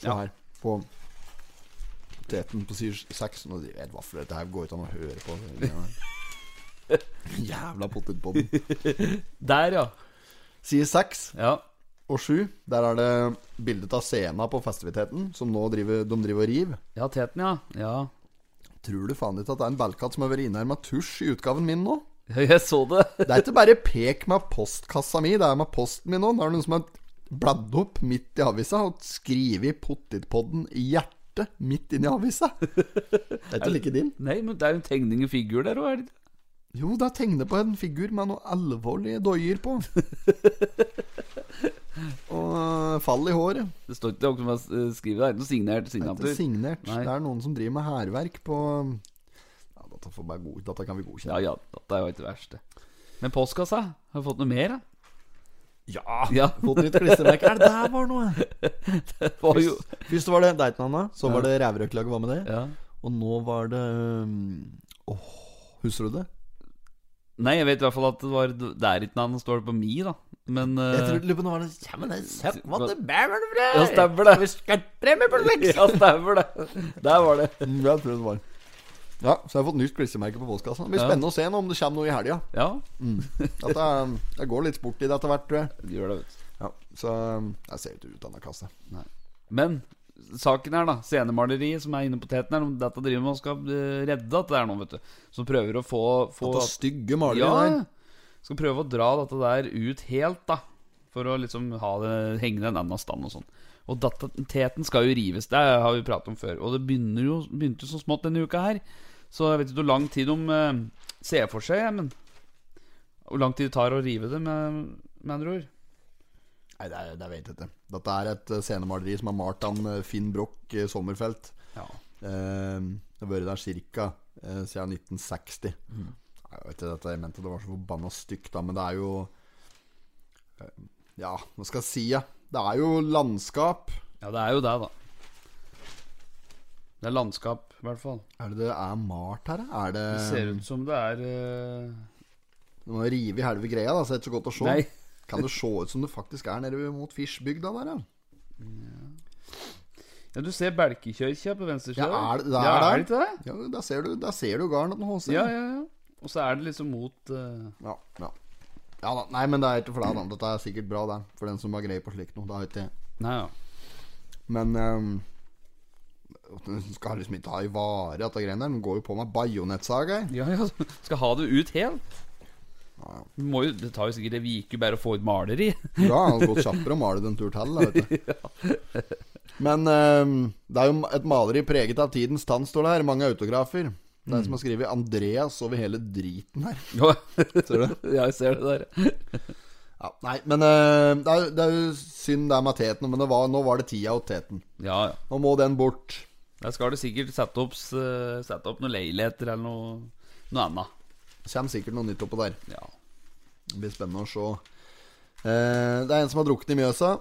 Speaker 1: Så her på teten på side 6 Nå jeg vet hva for dette her går ikke an å høre på. Ja. Jævla potetpodden.
Speaker 2: Der, ja.
Speaker 1: Side 6
Speaker 2: Ja.
Speaker 1: og 7, der er det bildet av scena på festiviteten, som nå driver, de driver og river.
Speaker 2: Ja, teten, ja. Ja.
Speaker 1: Tror du faen ikke at det er en ballkatt som har vært inne her med tusj i utgaven min nå?
Speaker 2: Jeg så det.
Speaker 1: Det er ikke bare pek med postkassa mi, det er med posten min nå. Det er noen som har bladd opp midt i avisa og skrevet 'Pottitpodden' i hjertet midt inn i avisa. Det er ikke like din.
Speaker 2: Nei, men det er jo en tegning og figur der òg.
Speaker 1: Jo, det er tegnet på en figur med noe alvorlige doier på. og eh, fall i håret.
Speaker 2: Det står ikke noe som er skrevet der. Noe
Speaker 1: Det
Speaker 2: signert
Speaker 1: er ikke
Speaker 2: signatur.
Speaker 1: signert.
Speaker 2: Nei.
Speaker 1: Det er noen som driver med hærverk på ja, dette, får bare god, dette kan vi godkjenne.
Speaker 2: Ja ja, dette er jo ikke det verste. Men postkassa? Har vi fått noe mer,
Speaker 1: Ja!
Speaker 2: da? Ja,
Speaker 1: Fått nytt klistremerke. Er det der var noe?
Speaker 2: det var jo
Speaker 1: Først var det Deitenhanna, så var det Ræverøklaget var med det.
Speaker 2: Ja.
Speaker 1: Og nå var det um, Åh, husker du det?
Speaker 2: Nei, jeg vet i hvert fall at det var Det er ikke noe annet som står på mi, da. Men eh,
Speaker 1: Jeg tror lurer på om det var noe Ja, men det er søtt, hva det bærer fra?
Speaker 2: Ja, stemmer det.
Speaker 1: Vi skal premie på leks!
Speaker 2: eh, Ja, stemmer det. Der var det.
Speaker 1: Mm, Jeg tror det var Ja, så jeg har fått nytt klistremerke på postkassa. Det blir
Speaker 2: Ja.
Speaker 1: spennende å se nå om det kommer noe i helga.
Speaker 2: Ja,
Speaker 1: Dette er- Jeg går litt sport i det etter hvert, tror jeg.
Speaker 2: det gjør det, vet du.
Speaker 1: Ja, så um, jeg ser ikke ut av den kassa.
Speaker 2: Men saken her, da. Scenemaleriet som er inne på teten her, om dette driver med og skal eh, redde dette der nå, vet du. Som prøver å få, få
Speaker 1: Dette er stygge malerier
Speaker 2: Ja,
Speaker 1: der.
Speaker 2: skal prøve å dra dette der ut helt, da. For å liksom ha det hengende en annen stand og sånn. Og dette, teten skal jo rives, det har vi pratet om før. Og det begynner jo, begynte jo så smått denne uka her. Så jeg vet ikke hvor lang tid de eh, ser for seg, men Hvor lang tid det tar å rive det, med, med andre ord.
Speaker 1: Nei, det, er, det vet jeg ikke. Dette er et uh, scenemaleri som er malt av en, uh, Finn Broch uh, Sommerfelt.
Speaker 2: Ja.
Speaker 1: Eh, det har vært der ca. siden 1960.
Speaker 2: Mm.
Speaker 1: Jeg vet ikke dette, jeg mente det var så forbanna stygt, da, men det er jo eh, Ja, hva skal jeg si? Ja? Det er jo landskap.
Speaker 2: Ja, det er jo det, da. Det er landskap, i hvert fall.
Speaker 1: Er det det er malt her? da? Er det,
Speaker 2: Det ser ut som det er eh,
Speaker 1: Du må rive i halve greia, da, så det er ikke så godt å se.
Speaker 2: Nei.
Speaker 1: Kan det se ut som det faktisk er nede mot Fischbygda der, ja?
Speaker 2: Ja, du ser Belkekirka på venstre side.
Speaker 1: Ja, er det- det er
Speaker 2: ja,
Speaker 1: der.
Speaker 2: er det ikke det?
Speaker 1: ja der, ser du, der ser du garden at den håser.
Speaker 2: Ja, ja, ja. Og så er det liksom mot eh,
Speaker 1: Ja, ja. ja da. Nei, men det er ikke for deg, da. Dette er sikkert bra, det. For den som har greie på slikt noe. Det er ikke
Speaker 2: Nei, ja.
Speaker 1: Men ehm, at Den skal liksom ikke ha i vare, dette greiene der. Den går jo på med bajonettsaga. jeg.
Speaker 2: ja, ja. Skal ha det ut helt.
Speaker 1: Ja, ja.
Speaker 2: Vi Må jo, det tar jo sikkert ei uke bare å få ut maleri.
Speaker 1: Da har han gått kjappere å male det en tur til. da, Vet du. Men ehm, det er jo et maleri preget av tidens tann, står det her. Mange autografer. Det er en som har skrevet 'Andreas' over hele driten her.
Speaker 2: Ja,
Speaker 1: Ser du?
Speaker 2: ja, jeg ser det der.
Speaker 1: Ja, nei, men eh, det, er, det er jo synd det er med teten, men det var, nå var det tida og teten.
Speaker 2: Ja, ja.
Speaker 1: Nå må den bort.
Speaker 2: Der skal det sikkert sette opp, s- eh, sette opp noen leiligheter eller noe, noe annet.
Speaker 1: Det kommer sikkert noe nytt oppå der.
Speaker 2: Ja.
Speaker 1: Det blir spennende å se. Eh, det er en som har druknet i Mjøsa.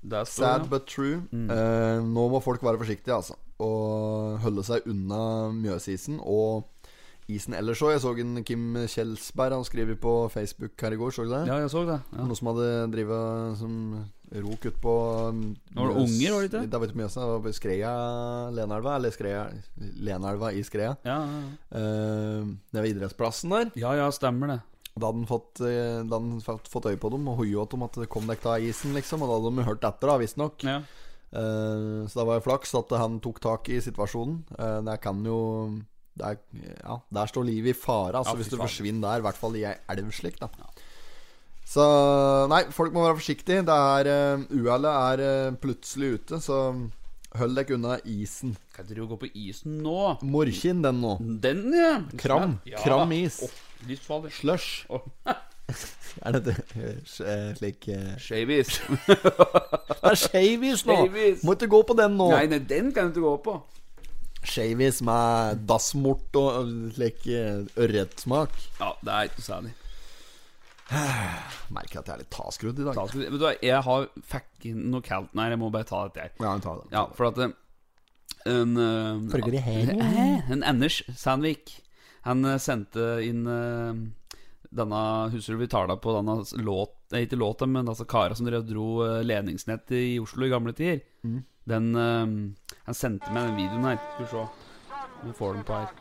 Speaker 2: Det er
Speaker 1: Sad
Speaker 2: så,
Speaker 1: but true.
Speaker 2: Mm.
Speaker 1: Eh, nå må folk være forsiktige, altså. Og holde seg unna Mjøsisen og isen ellers òg. Jeg så en Kim Kjelsberg han skriver på Facebook her i går. Så du det?
Speaker 2: ja, jeg så det. Ja.
Speaker 1: Noen som hadde drivet som rok ut på mm,
Speaker 2: Nå var det unger, var det ikke?
Speaker 1: Da vet du Mjøsa, det var Skreia Lenelva, eller Skreia Lenelva i Skreia.
Speaker 2: Ja, ja,
Speaker 1: Eh, det var idrettsplassen der.
Speaker 2: ja, ja, stemmer det.
Speaker 1: Da hadde han fått, eh, da hadde han fått, fått øye på dem og hoia dem at det kom dekk av isen, liksom. Og da hadde de hørt etter, da, visstnok.
Speaker 2: Ja.
Speaker 1: Eh, så da var det flaks at han tok tak i situasjonen. Eh, der kan jo der, ja, der står livet i fare, altså,
Speaker 2: Ja, fy
Speaker 1: hvis du
Speaker 2: faen.
Speaker 1: forsvinner der. I hvert fall i ei elv slik, da. Så nei, folk må være forsiktige. Det er eh, Uhellet er eh, plutselig ute, så hold dere unna isen.
Speaker 2: Kan ikke du gå på isen nå?
Speaker 1: Morkin, den nå.
Speaker 2: Den, ja.
Speaker 1: Kram.
Speaker 2: Ja.
Speaker 1: Kram is.
Speaker 2: Åh, Livsfarlig.
Speaker 1: Slush.
Speaker 2: Åh.
Speaker 1: Er dette eh, slik eh,
Speaker 2: Shavies.
Speaker 1: Det er shavis nå!
Speaker 2: Shavis.
Speaker 1: Må ikke gå på den nå.
Speaker 2: Nei, nei, den kan du ikke gå på.
Speaker 1: Shavis med dassmort og eh, slik eh, ørretsmak.
Speaker 2: Ja, det er ikke noe særlig.
Speaker 1: Merker at jeg er litt taskrudd i dag.
Speaker 2: Ta, skal vi- vet du hva, jeg har fikk inn noe kaldt her, jeg må bare ta dette her.
Speaker 1: Ja, vi tar det.
Speaker 2: Ja, for at eh, en, eh,
Speaker 1: Følger i hælen.
Speaker 2: Eh, en Anders Sandvik Han eh, sendte inn eh, denne Husker du vi tala på denne låt Nei, ikke låta, men altså kara som drev og dro eh, ledningsnett i Oslo i gamle tider. Den eh, Han sendte meg den videoen her. Skal vi se om vi får den på her.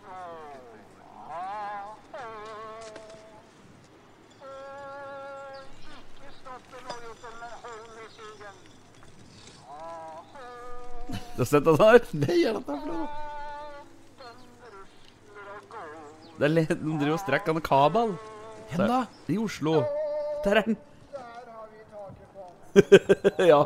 Speaker 6: Ikke stopp i Norge, men hold musikken.
Speaker 2: Du har sett den her?
Speaker 1: Nei, er dette for noe?
Speaker 2: Det er le- De driver og strekker han kabel.
Speaker 1: Hen da?
Speaker 2: I Oslo. Der er den. ja.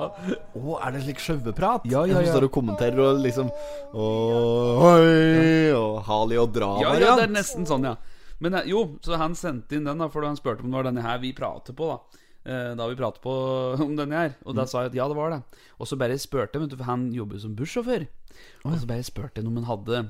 Speaker 1: Å, er det slik sjaueprat?
Speaker 2: Ja, ja,
Speaker 1: En som
Speaker 2: ja.
Speaker 1: står og kommenterer og liksom Oi, og Hali og dra
Speaker 2: ja, ja, det er nesten sånn, ja. Men eh, jo, så han sendte inn den, da, for han spurte om det var denne her vi prater på, da. Eh, Da vi pratet på om denne her. Og da sa jeg at ja, det var det. Og så bare spurte jeg, vet du, for han jobber jo som bussjåfør. Og så bare spurte jeg om han hadde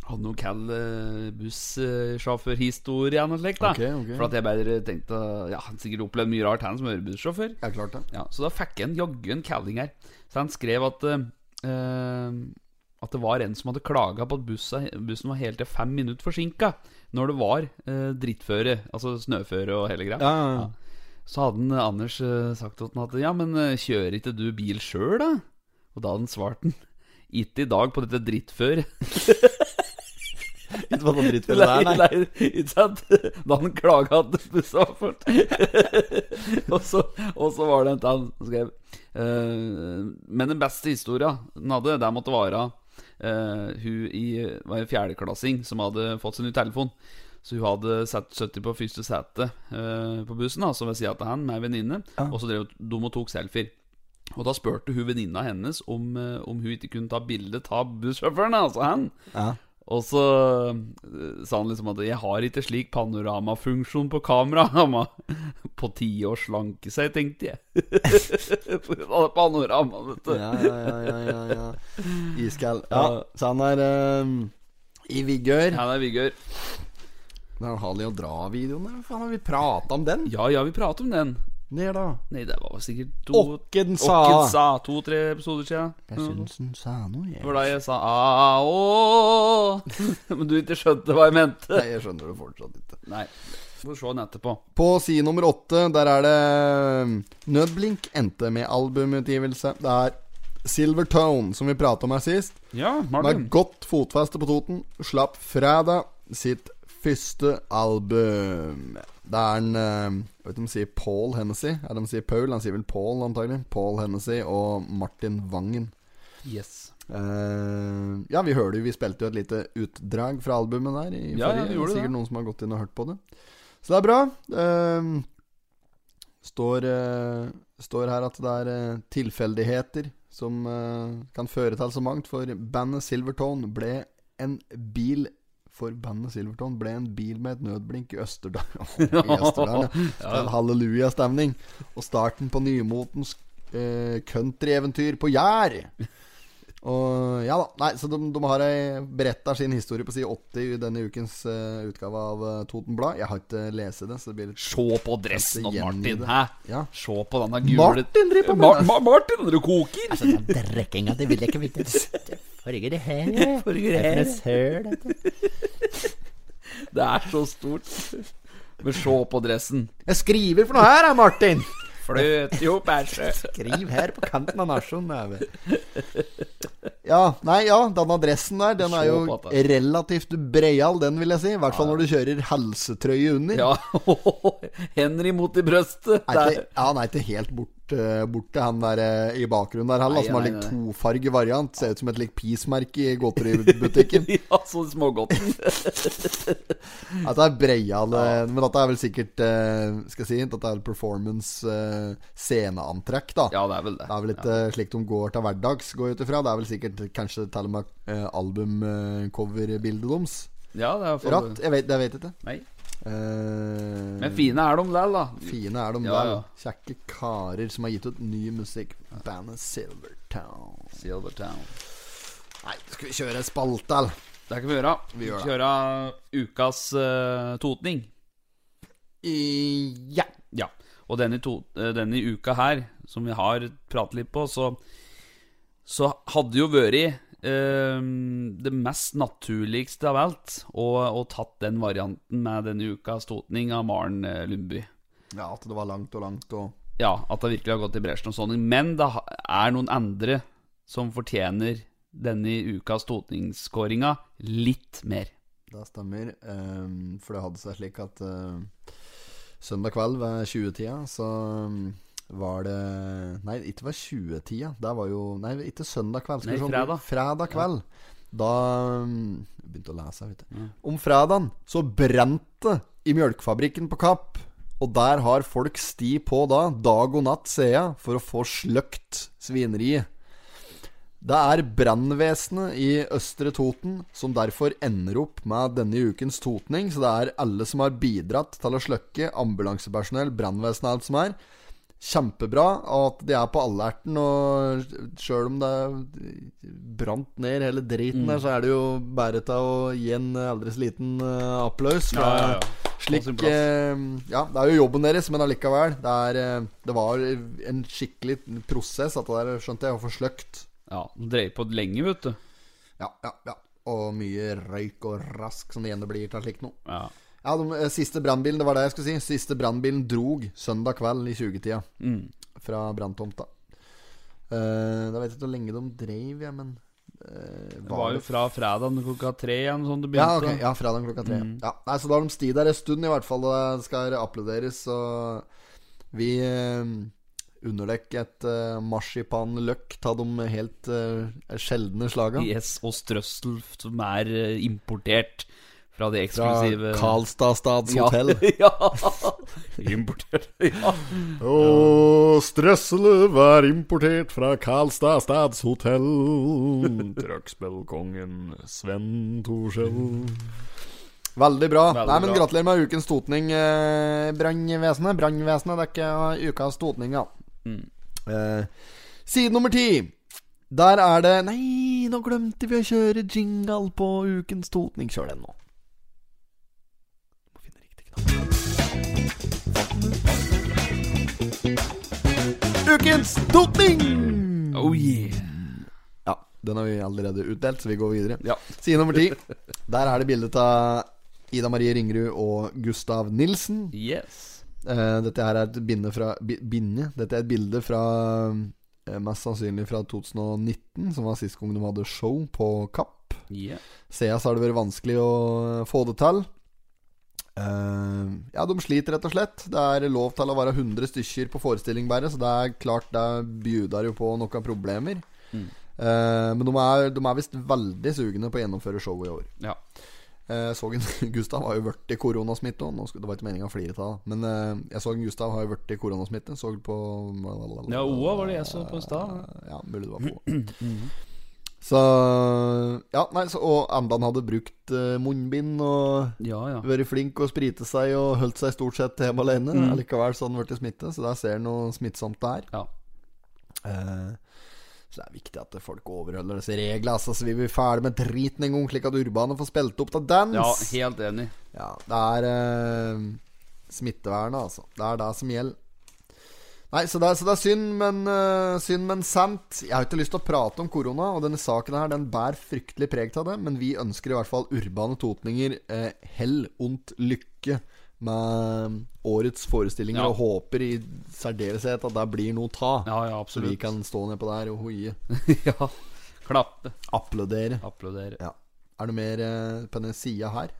Speaker 2: Hadde noe kall eh, bussjåførhistorie eller noe slikt. da
Speaker 1: Ok, ok.
Speaker 2: For at jeg bare tenkte Ja, han sikkert opplevd mye rart, han som er bussjåfør.
Speaker 1: Ja, klart det.
Speaker 2: Ja, så da fikk jeg en jaggu en calling her. Så han skrev at eh, eh, at det var en som hadde klaga på at bussa, bussen var helt til fem minutter forsinka når det var eh, drittføre, altså snøføre og hele greia.
Speaker 7: Ja, ja, ja.
Speaker 2: Så hadde han, eh, Anders eh, sagt til han at ja, men eh, kjører ikke du bil sjøl, da? Og da hadde han svart han ikke i dag på dette drittføret.
Speaker 1: Ikke på sånn drittfelle
Speaker 2: Nei,
Speaker 1: der, nei.
Speaker 2: nei, ikke sant? Da han klaga at bussa var fort. og, så, og så var det en han som skrev eh, Men den beste historia han hadde, der måtte være eh, hun i var en fjerdeklassing som hadde fått sin ny telefon. Så hun hadde satt 70 på første sete eh, på bussen, da, som ved sida av han med ei venninne. Og så drev de og tok selfier. Og da spurte hun venninna hennes om, eh, om hun ikke kunne ta bilde av bussjåføren, altså han.
Speaker 7: Ja.
Speaker 2: Og så eh, sa han liksom at 'jeg har ikke slik panoramafunksjon på kamera'. Amma. På tide å slanke seg, tenkte jeg. På grunn av det panorama, vet du.
Speaker 1: Ja, ja, ja, ja, ja, ja. Iskall. Ja, så han er ehm, i vigør.
Speaker 2: Ja, det er Vigør.
Speaker 1: Det er Harley og Dra-videoen der. Faen, har vi prata om den?
Speaker 2: Ja, ja, vi prater om den.
Speaker 1: Ned, da.
Speaker 2: Nei, det var sikkert to
Speaker 1: Åkken
Speaker 2: Åkken
Speaker 1: sa
Speaker 2: sa to-tre episoder siden. Mm.
Speaker 1: Jeg syns han sa noe, jeg.
Speaker 2: Det var da jeg sa «Ah, ååå Men du ikke skjønte hva jeg mente.
Speaker 1: Nei, jeg skjønner det fortsatt ikke.
Speaker 2: Nei. Får se den etterpå.
Speaker 1: På side nummer åtte, der er det Nødblink endte med albumutgivelse. Det er Silver Tone, som vi prata om her sist.
Speaker 2: Ja,
Speaker 1: Med
Speaker 2: Martin.
Speaker 1: godt fotfeste på Toten. Slapp fredag sitt første album. Det er en eh, Jeg vet ikke om de sier Paul Hennessy. Er det de sier Paul? Han sier vel Paul, antagelig. Paul Hennessy og Martin Vangen.
Speaker 2: Yes.
Speaker 1: Eh, ja, vi hørte jo Vi spilte jo et lite utdrag fra albumet der. I
Speaker 2: Ja, ja, vi
Speaker 1: forrige.
Speaker 2: gjorde det.
Speaker 1: Sikkert noen som har gått inn og hørt på det. Så det er bra. Eh, står, eh, står her at det er eh, tilfeldigheter som eh, kan føre til så mangt, for bandet Silvertone ble en bil for bandet Silvertone ble en bil med et nødblink i Østerdal. I Østerdal, ja. Så det er en Hallelujastemning. Og starten på nymotens eh, countryeventyr på Jær. Og ja da. Nei, så de, de har ei- beretta sin historie på side 80 i denne ukens eh, utgave av eh, Toten Blad. Jeg har ikke lest det, så det blir litt
Speaker 2: Se på dressen av
Speaker 1: Jeg gjengi Altså,
Speaker 2: Martin,
Speaker 1: det.
Speaker 2: hæ?
Speaker 1: Ja.
Speaker 2: Se på denne gule
Speaker 1: Martin driver på med
Speaker 2: Mar
Speaker 1: det. Altså,
Speaker 2: Mar Martin, du koker!
Speaker 8: Drekkinga, det vil jeg ikke vite. Det Farger det her, ja.
Speaker 2: Farger
Speaker 8: det
Speaker 2: her.
Speaker 8: er for noe søl, dette.
Speaker 2: det er så stort. Men se på dressen.
Speaker 1: Jeg skriver for noe her, da, Martin!
Speaker 2: Fløt jo bæsje.
Speaker 1: Skriv her på kanten av nasjonen. Ja, nei, ja, den adressen der, den er
Speaker 2: Se
Speaker 1: jo
Speaker 2: på at det
Speaker 1: relativt breial, den vil jeg si. I hvert fall når du kjører helsetrøye under.
Speaker 2: Ja, Henry mot i brøstet.
Speaker 1: Er ikke, ja, han er ikke helt bort, eh, borte, han der eh, i bakgrunnen der heller,
Speaker 2: Nei,
Speaker 1: som har
Speaker 2: nei,
Speaker 1: litt
Speaker 2: nei.
Speaker 1: tofarge variant. Ser ut som et litt peace-merke i godteributikken.
Speaker 2: Der. Ja, så smågodten.
Speaker 1: At det er breial, eh, men dette er vel sikkert eh, Skal jeg si, dette er performance eh, sceneantrekk, da.
Speaker 2: Ja, det er vel det.
Speaker 1: Det er vel litt eh, slik de går til hverdags, går jeg ut ifra. Det er vel sikkert kanskje til og med eh, albumcoverbildet deres.
Speaker 2: Ja, det er for...
Speaker 1: Ratt? Jeg vet, jeg vet ikke.
Speaker 2: Nei.
Speaker 1: Eh,
Speaker 2: Men fine er de lell, da.
Speaker 1: Fine er de
Speaker 2: Ja,
Speaker 1: der.
Speaker 2: ja.
Speaker 1: Kjekke karer som har gitt ut ny musikk. Bandet Silvertown.
Speaker 2: Silvertown.
Speaker 1: Nei, skal vi kjøre en spalte, eller?
Speaker 2: Det kan vi gjøre.
Speaker 1: Vi gjør det.
Speaker 2: Kjøre ukas eh, totning.
Speaker 1: I, ja.
Speaker 2: Ja. Og denne, to, eh, denne uka her, som vi har pratet litt på, så, så hadde jo vært eh, det mest naturligste av alt å, å tatt den varianten med denne ukas totning av Maren eh, Lundby.
Speaker 1: ja, at det var langt og langt og
Speaker 2: Ja, at det virkelig har gått i bresjen og sånn. Men det ha- er noen andre som fortjener denne ukas totningskåringa litt mer.
Speaker 1: Det stemmer. ehm, for det hadde seg slik at eh, søndag kveld ved 20-tida så ehm, var det Nei, ikke ved 20-tida. Det var jo Nei, ikke søndag kveld. skal
Speaker 2: Nei,
Speaker 1: vi se om-
Speaker 2: fredag.
Speaker 1: Fredag kveld. Da ehm, jeg begynte å lese, vet du. Om fredagen så brant det i mjølkefabrikken på Kapp. Og der har folk sti på da, dag og natt, ser jeg, for å få sløkt svineriet. Det er brannvesenet i Østre Toten som derfor ender opp med denne ukens totning. Så det er alle som har bidratt til å slukke. Ambulansepersonell, brannvesenet, alt som er. Kjempebra og at de er på alerten, og sjøl om det er brant ned hele driten
Speaker 2: Mm.
Speaker 1: der, så er det jo bare til å gi en aldri så liten eh, applaus. Fra,
Speaker 2: ja, ja.
Speaker 1: Slik
Speaker 2: sin plass.
Speaker 1: eh, Ja, det er jo jobben deres, men allikevel. Det, er, eh, det var en skikkelig prosess, at det der skjønte jeg, å få sløkt.
Speaker 2: Ja, de dreier på lenge, vet du.
Speaker 1: Ja, ja, ja. Og mye røyk og rask som det igjen blir til slikt noe.
Speaker 2: Ja.
Speaker 1: Ja, de, eh, Siste brannbilen, det var det jeg skulle si. Siste brannbilen drog søndag kveld i 20-tida
Speaker 2: Mm.
Speaker 1: fra branntomta. Eh, da vet jeg ikke hvor lenge de dreiv, jeg, men eh,
Speaker 2: Det var jo fra fredag klokka tre igjen sånn det
Speaker 1: ja,
Speaker 2: begynte. Mm.
Speaker 1: ok, ja, fredag klokka tre. Ja. Nei, så da har de sti der en stund, i hvert fall. Og det skal applauderes. Og vi eh, underdekker et eh, marsipanløkk av de helt eh, sjeldne slaga.
Speaker 2: Yes, og strøssel som er eh, importert fra det
Speaker 1: Fra
Speaker 2: eksklusive
Speaker 1: Karlstadstads hotell.
Speaker 2: Ja. Importert. Ja.
Speaker 1: Og strøssele var importert fra Karlstad stadshotell. Trøkkspillkongen Sven Torskjell. Veldig bra.
Speaker 2: Veldig
Speaker 1: Nei, men
Speaker 2: bra.
Speaker 1: Gratulerer med ukens totning, eh, brannvesenet. Brannvesenet dekker ukas totning, ja.
Speaker 2: Mm.
Speaker 1: Eh, side nummer ti. Der er det Nei, nå glemte vi å kjøre jingle på ukens totning. Kjør den nå. Må finne riktig knapp. Ukens doping!
Speaker 2: Oh yeah.
Speaker 1: Ja, den har vi allerede utdelt, så vi går videre.
Speaker 2: Ja.
Speaker 1: Side nummer ti. Der er det bilde av Ida Marie Ringerud og Gustav Nilsen.
Speaker 2: Yes.
Speaker 1: Eh, dette her er et binde fra bi- Binde? Dette er et bilde fra eh, Mest sannsynlig fra 2019, som var sist gang de hadde show på Kapp.
Speaker 2: Yeah.
Speaker 1: Siden så har det vært vanskelig å få det til. Eh, ja, de sliter rett og slett. Det er lov til å være 100 stykker på forestilling bare, så det er klart det bjuder jo på noen problemer. Eh, men de er, de er visst veldig sugne på å gjennomføre showet i år.
Speaker 2: Ja.
Speaker 1: Eh, så en Gustav har jo vært i koronasmitte. og Nå skulle, det var ikke meninga å flire av det, men eh, jeg så en Gustav har jo vært i koronasmitte. Så på Eh,
Speaker 2: Ja, Oa var det jeg så på i stad.
Speaker 1: ja, mulig det var på. Så Ja, nei, så, og Amdan hadde brukt eh, munnbind og
Speaker 2: Ja, ja.
Speaker 1: vært flink og sprite seg og holdt seg stort sett hjemme alene.
Speaker 2: Mm.
Speaker 1: Allikevel så hadde han blitt smittet, så der ser han noe smittsomt der.
Speaker 2: Ja.
Speaker 1: Eh, Så det er viktig at folk overholder disse reglene, altså, så vi blir ferdig med driten en gang, slik at Urbane får spilt opp til dans.
Speaker 2: ja, helt enig.
Speaker 1: Ja, det er eh, smittevernet, altså. Det er det som gjelder. Nei, så det er, så det er synd, men eh, synd, men sant. Jeg har ikke lyst til å prate om korona, og denne saken her den bærer fryktelig preg av det, men vi ønsker i hvert fall urbane totninger eh, hell ondt lykke med årets forestillinger,
Speaker 2: Ja.
Speaker 1: og håper i særdeleshet at det blir noe ta.
Speaker 2: Ja, ja,
Speaker 1: så vi
Speaker 2: absolutt.
Speaker 1: kan stå nedpå der og hoie.
Speaker 2: ja. Klappe.
Speaker 1: Applaudere.
Speaker 2: Applaudere.
Speaker 1: Ja. Er det mer eh, på denne sida her?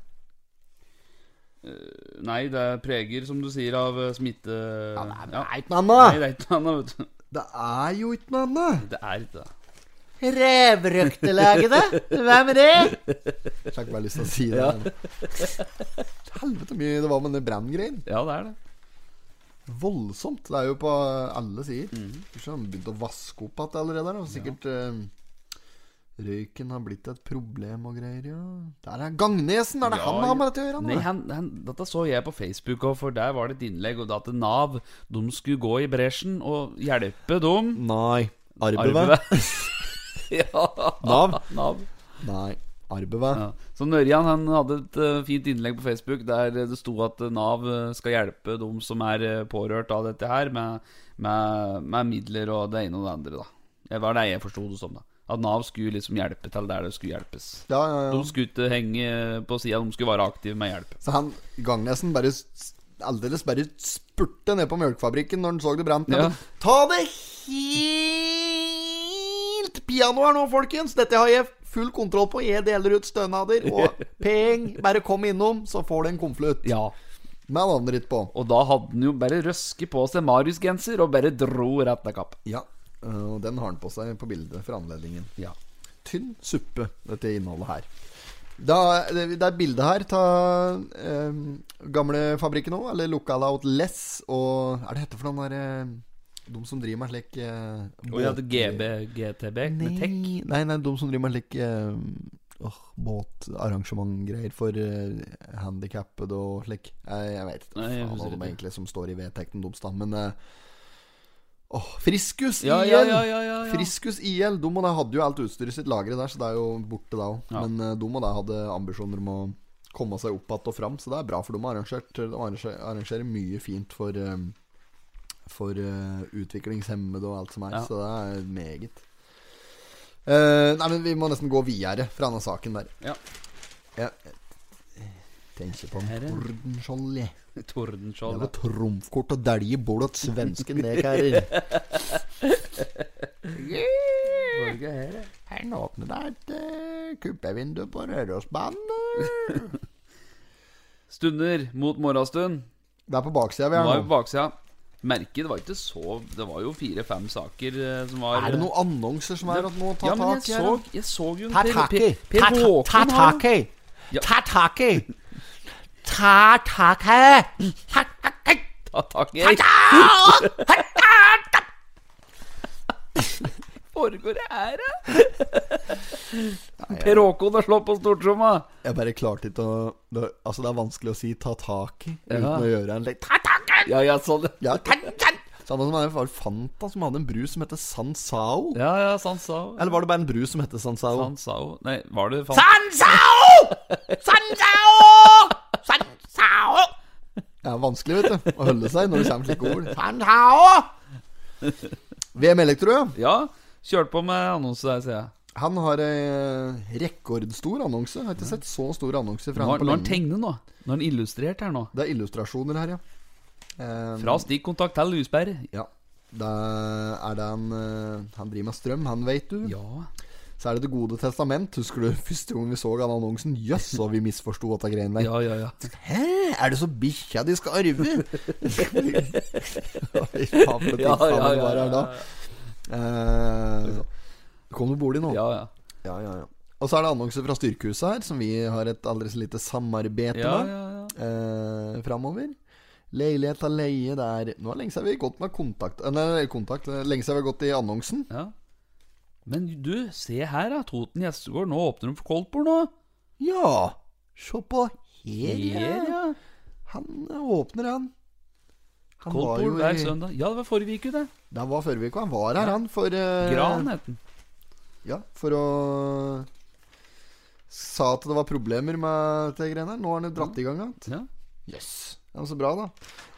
Speaker 2: Nei, det er preger, som du sier, av eh, smitte... Ja, nei, nei,
Speaker 1: Noe annet!
Speaker 2: det er ikke noe annet, vet du.
Speaker 1: Det er jo ikke noe annet!
Speaker 2: Det er ikke det.
Speaker 8: Revrøktelege, det? Hvem er det?
Speaker 1: Jeg har ikke bare lyst til å si det. Helvete mye det var med den branngreien.
Speaker 2: Ja, det er det.
Speaker 1: Voldsomt. Det er jo på alle sider.
Speaker 2: Mhm.
Speaker 1: Kanskje han begynte å vaske opp igjen allerede. Da. Sikkert eh, røyken har blitt et problem og greier, ja. Der er Gangnesen! Er det
Speaker 2: Ja,
Speaker 1: han
Speaker 2: ja.
Speaker 1: har med dette å gjøre?
Speaker 2: Nei, han, han, dette så jeg på Facebook, og for der var det et innlegg, og da til NAV, de skulle gå i bresjen og hjelpe dem.
Speaker 1: Nei.
Speaker 2: Arve. ja.
Speaker 1: Nav?
Speaker 2: NAV.
Speaker 1: Nei. Arbeve.
Speaker 2: Ja. Så Nørjan han hadde et eh, fint innlegg på Facebook der det sto at eh, Nav eh, skal hjelpe de som er eh, pårørt av dette her, med, med, med midler og det ene og det andre. da Det var det jeg forsto det som. da At Nav skulle liksom hjelpe til der det skulle hjelpes.
Speaker 1: Ja, ja, ja.
Speaker 2: De skulle ikke henge på sida, de skulle være aktive med hjelp.
Speaker 1: Så han Gangnesen bare s- aldeles bare spurte ned på mjølkefabrikken når han så det brant.
Speaker 2: Ja.
Speaker 1: Ta det helt piano her nå, folkens! Dette har jeg full kontroll på. Jeg deler ut stønader og peng. Bare kom innom, så får du en konvolutt.
Speaker 2: Ja
Speaker 1: Med navnet ditt på.
Speaker 2: Og da hadde han jo bare røsket på seg Marius-genser og bare dro rett av kapp.
Speaker 1: Ja. Og den har han på seg på bildet for anledningen.
Speaker 2: Ja.
Speaker 1: Tynn suppe, dette innholdet her. Da, det det er bilde her av eh, gamlefabrikken òg, eller Local Out Less og Er det hette for noen der eh, De som driver med slik eh,
Speaker 2: Og vi hadde
Speaker 1: båt-
Speaker 2: GB, GTB med tech.
Speaker 1: Nei, nei, nei, de som driver med slik eh, åh, båtarrangementgreier for eh, handikappede og slik. Jeg, jeg veit ikke
Speaker 2: Nei, jeg
Speaker 1: faen hva
Speaker 2: husker
Speaker 1: de
Speaker 2: ikke.
Speaker 1: egentlig som står i vedtekten deres, da, men eh, Åh, Friskus
Speaker 2: Ja,
Speaker 1: IL!
Speaker 2: ja, ja, ja, ja, ja.
Speaker 1: Friskus IL. De og de hadde jo alt utstyret sitt lagret der, så det er jo borte da òg.
Speaker 2: Ja.
Speaker 1: Men eh, de og de hadde ambisjoner om å komme seg opp igjen og fram, så det er bra for dem å arrangere. De arrangerer, arrangerer mye fint for eh, for eh, utviklingshemmede og alt som er,
Speaker 2: Ja.
Speaker 1: så det er meget. Eh, nei, men vi må nesten gå videre fra denne saken der.
Speaker 2: Ja.
Speaker 1: Jeg, jeg tenker på en
Speaker 2: Herre.
Speaker 1: Tordenskjold, jeg. Det
Speaker 2: Tordenskjold.
Speaker 1: var trumfkort å dælje bort åt svensken, det, karer. Norge her, ja. Her nå åpner det et eh, kuppevindu på Rørosbanen. eh.
Speaker 2: Stunder mot morgenstund.
Speaker 1: Det er på baksida vi
Speaker 2: Det var
Speaker 1: er
Speaker 2: jo
Speaker 1: nå.
Speaker 2: baksida. Merket var ikke så Det var jo fire-fem saker eh, som var
Speaker 1: Er det noen annonser som er å nå ta
Speaker 2: Ja, men jeg
Speaker 1: tak i? her,
Speaker 2: så,
Speaker 1: da?
Speaker 2: jeg så jo
Speaker 8: Ta
Speaker 2: Per-
Speaker 8: tak i.
Speaker 2: Per- Per
Speaker 8: Ta ta- ta
Speaker 2: Håkon har-
Speaker 8: tak i.
Speaker 2: Ja.
Speaker 8: Ta tak i. Ta tak i. Ta tak i.
Speaker 2: Ta tak i. Foregår det her, da? Per Håkon har slått på stortromma.
Speaker 1: Jeg bare klarte ikke å det, Altså, det er vanskelig å si 'ta tak i' uten
Speaker 2: Ja.
Speaker 1: å gjøre en lek. Ta tak i!
Speaker 2: Ja, ja, sånn.
Speaker 1: Ja, ta tak i! Samme som det var Fanta, som hadde en brus som het Sansao.
Speaker 2: Ja, ja, Sansao.
Speaker 1: Eller var det bare en brus som het Sansao?
Speaker 2: Sansao Nei, var det fan...
Speaker 8: Sansao! Sansao! Sansao!
Speaker 1: Det er vanskelig, vet du, å holde seg når det kommer slike ord.
Speaker 8: Sansao!
Speaker 1: VM Elektro, ja.
Speaker 2: Ja, kjørte på med annonse der, sier jeg.
Speaker 1: Han har ei eh, rekordstor annonse. Jeg har ikke sett så stor annonse fra
Speaker 2: Nå
Speaker 1: han
Speaker 2: har
Speaker 1: på
Speaker 2: nå har han
Speaker 1: lenge.
Speaker 2: tegnet nå. Nå har han illustrert her nå.
Speaker 1: Det er illustrasjoner her, ja. Eh,
Speaker 2: Fra stikkontakt til Lusberg.
Speaker 1: ja. Da er det han eh, Han driver med strøm, han veit du.
Speaker 2: Ja.
Speaker 1: Så er det Det gode testament. Husker du første gang vi så den annonsen? Jøss, og vi misforsto dette greiene der.
Speaker 2: Ja, ja, ja.
Speaker 1: Hæ? Er det så bikkja de skal arve? Fy faen, for et
Speaker 2: Ja,
Speaker 1: faen
Speaker 2: ja,
Speaker 1: det
Speaker 2: ja,
Speaker 1: var
Speaker 2: ja,
Speaker 1: her da. Eh, Kom du bolig nå?
Speaker 2: ja, ja.
Speaker 1: Ja, ja, ja. Og så er det annonser fra Styrkehuset her, som vi har et aldri så lite samarbeid
Speaker 2: ja,
Speaker 1: med
Speaker 2: ja, ja.
Speaker 1: eh, framover. Leilighet av leie der Nå er det lenge siden vi har gått med kontakt eh, Nei, kontakt eh, Lenge siden vi har gått i annonsen.
Speaker 2: ja. Men du, se her, da. Toten gjestegård. Nå åpner de for koldtbord nå.
Speaker 1: Ja! Se på her,
Speaker 2: Her,
Speaker 1: ja.
Speaker 2: ja.
Speaker 1: Han eh, åpner, han. Han var jo
Speaker 2: Koldtbord hver
Speaker 1: i,
Speaker 2: søndag. Ja, det sånn. var forrige uke, det.
Speaker 1: Det var forrige uke. Han var her, han, for eh,
Speaker 2: Gran het den.
Speaker 1: Ja, for å Sa at det var problemer med de greiene her. Nå har han jo
Speaker 2: Mm.
Speaker 1: dratt i gang igjen.
Speaker 2: Ja.
Speaker 1: Jøss. Yes. Ja, men så bra, da.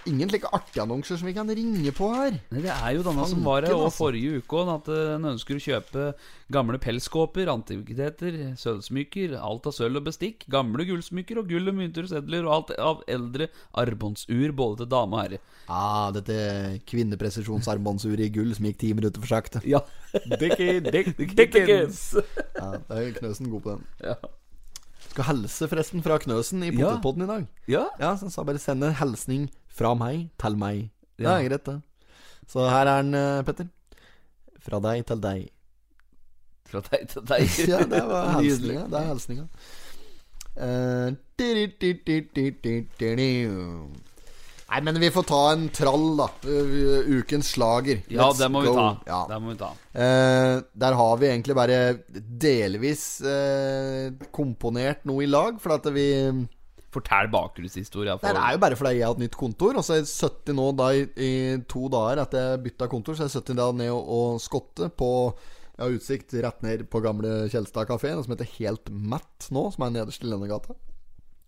Speaker 1: Ingen slike artige annonser som vi kan ringe på her.
Speaker 2: Nei, Det er jo denne som var her
Speaker 1: Fanken,
Speaker 2: og
Speaker 1: altså.
Speaker 2: forrige uke òg, at eh, en ønsker å kjøpe gamle pelskåper, antikviteter, sølvsmykker, alt av sølv og bestikk, gamle gullsmykker og gull og mynter og sedler og alt av eldre armbåndsur, både til dame og herre.
Speaker 1: Ah, dette kvinnepresisjonsarmbåndsuret i gull som gikk ti minutter for sakte.
Speaker 2: Ja. Dickens.
Speaker 1: Ja, det er Knøsen god på den.
Speaker 2: Ja.
Speaker 1: Skal helse forresten fra Knøsen i
Speaker 2: Ja.
Speaker 1: Potetpodden i dag.
Speaker 2: ja.
Speaker 1: Ja, så han sa bare send en hilsning fra meg til meg. Det
Speaker 2: Ja.
Speaker 1: er greit, det. Så her er den, eh, Petter. Fra deg til deg.
Speaker 2: Fra deg til deg.
Speaker 1: Ja, det var
Speaker 2: Nydelig.
Speaker 1: hilsninga. Det er hilsninga. Eh, di-di-di-di-di-di-di-di. Nei, men vi får ta en trall, da. Eh, Ukens slager.
Speaker 2: Ja,
Speaker 1: Let's
Speaker 2: det må vi
Speaker 1: go.
Speaker 2: ta.
Speaker 1: Ja.
Speaker 2: Det må vi ta.
Speaker 1: Eh, der har vi egentlig bare delvis eh, komponert noe i lag. For at vi
Speaker 2: Fortell bakgrunnshistoria.
Speaker 1: Det
Speaker 2: For...
Speaker 1: er jo bare fordi jeg har hatt nytt kontor. Og så er jeg 70 nå da i, i to dager etter jeg bytta kontor, så er jeg 70 da ned og, og skotte på Jeg har utsikt rett ned på gamle Kjelstad kafé, som heter Helt Matt nå, som er nederst i Lennegata.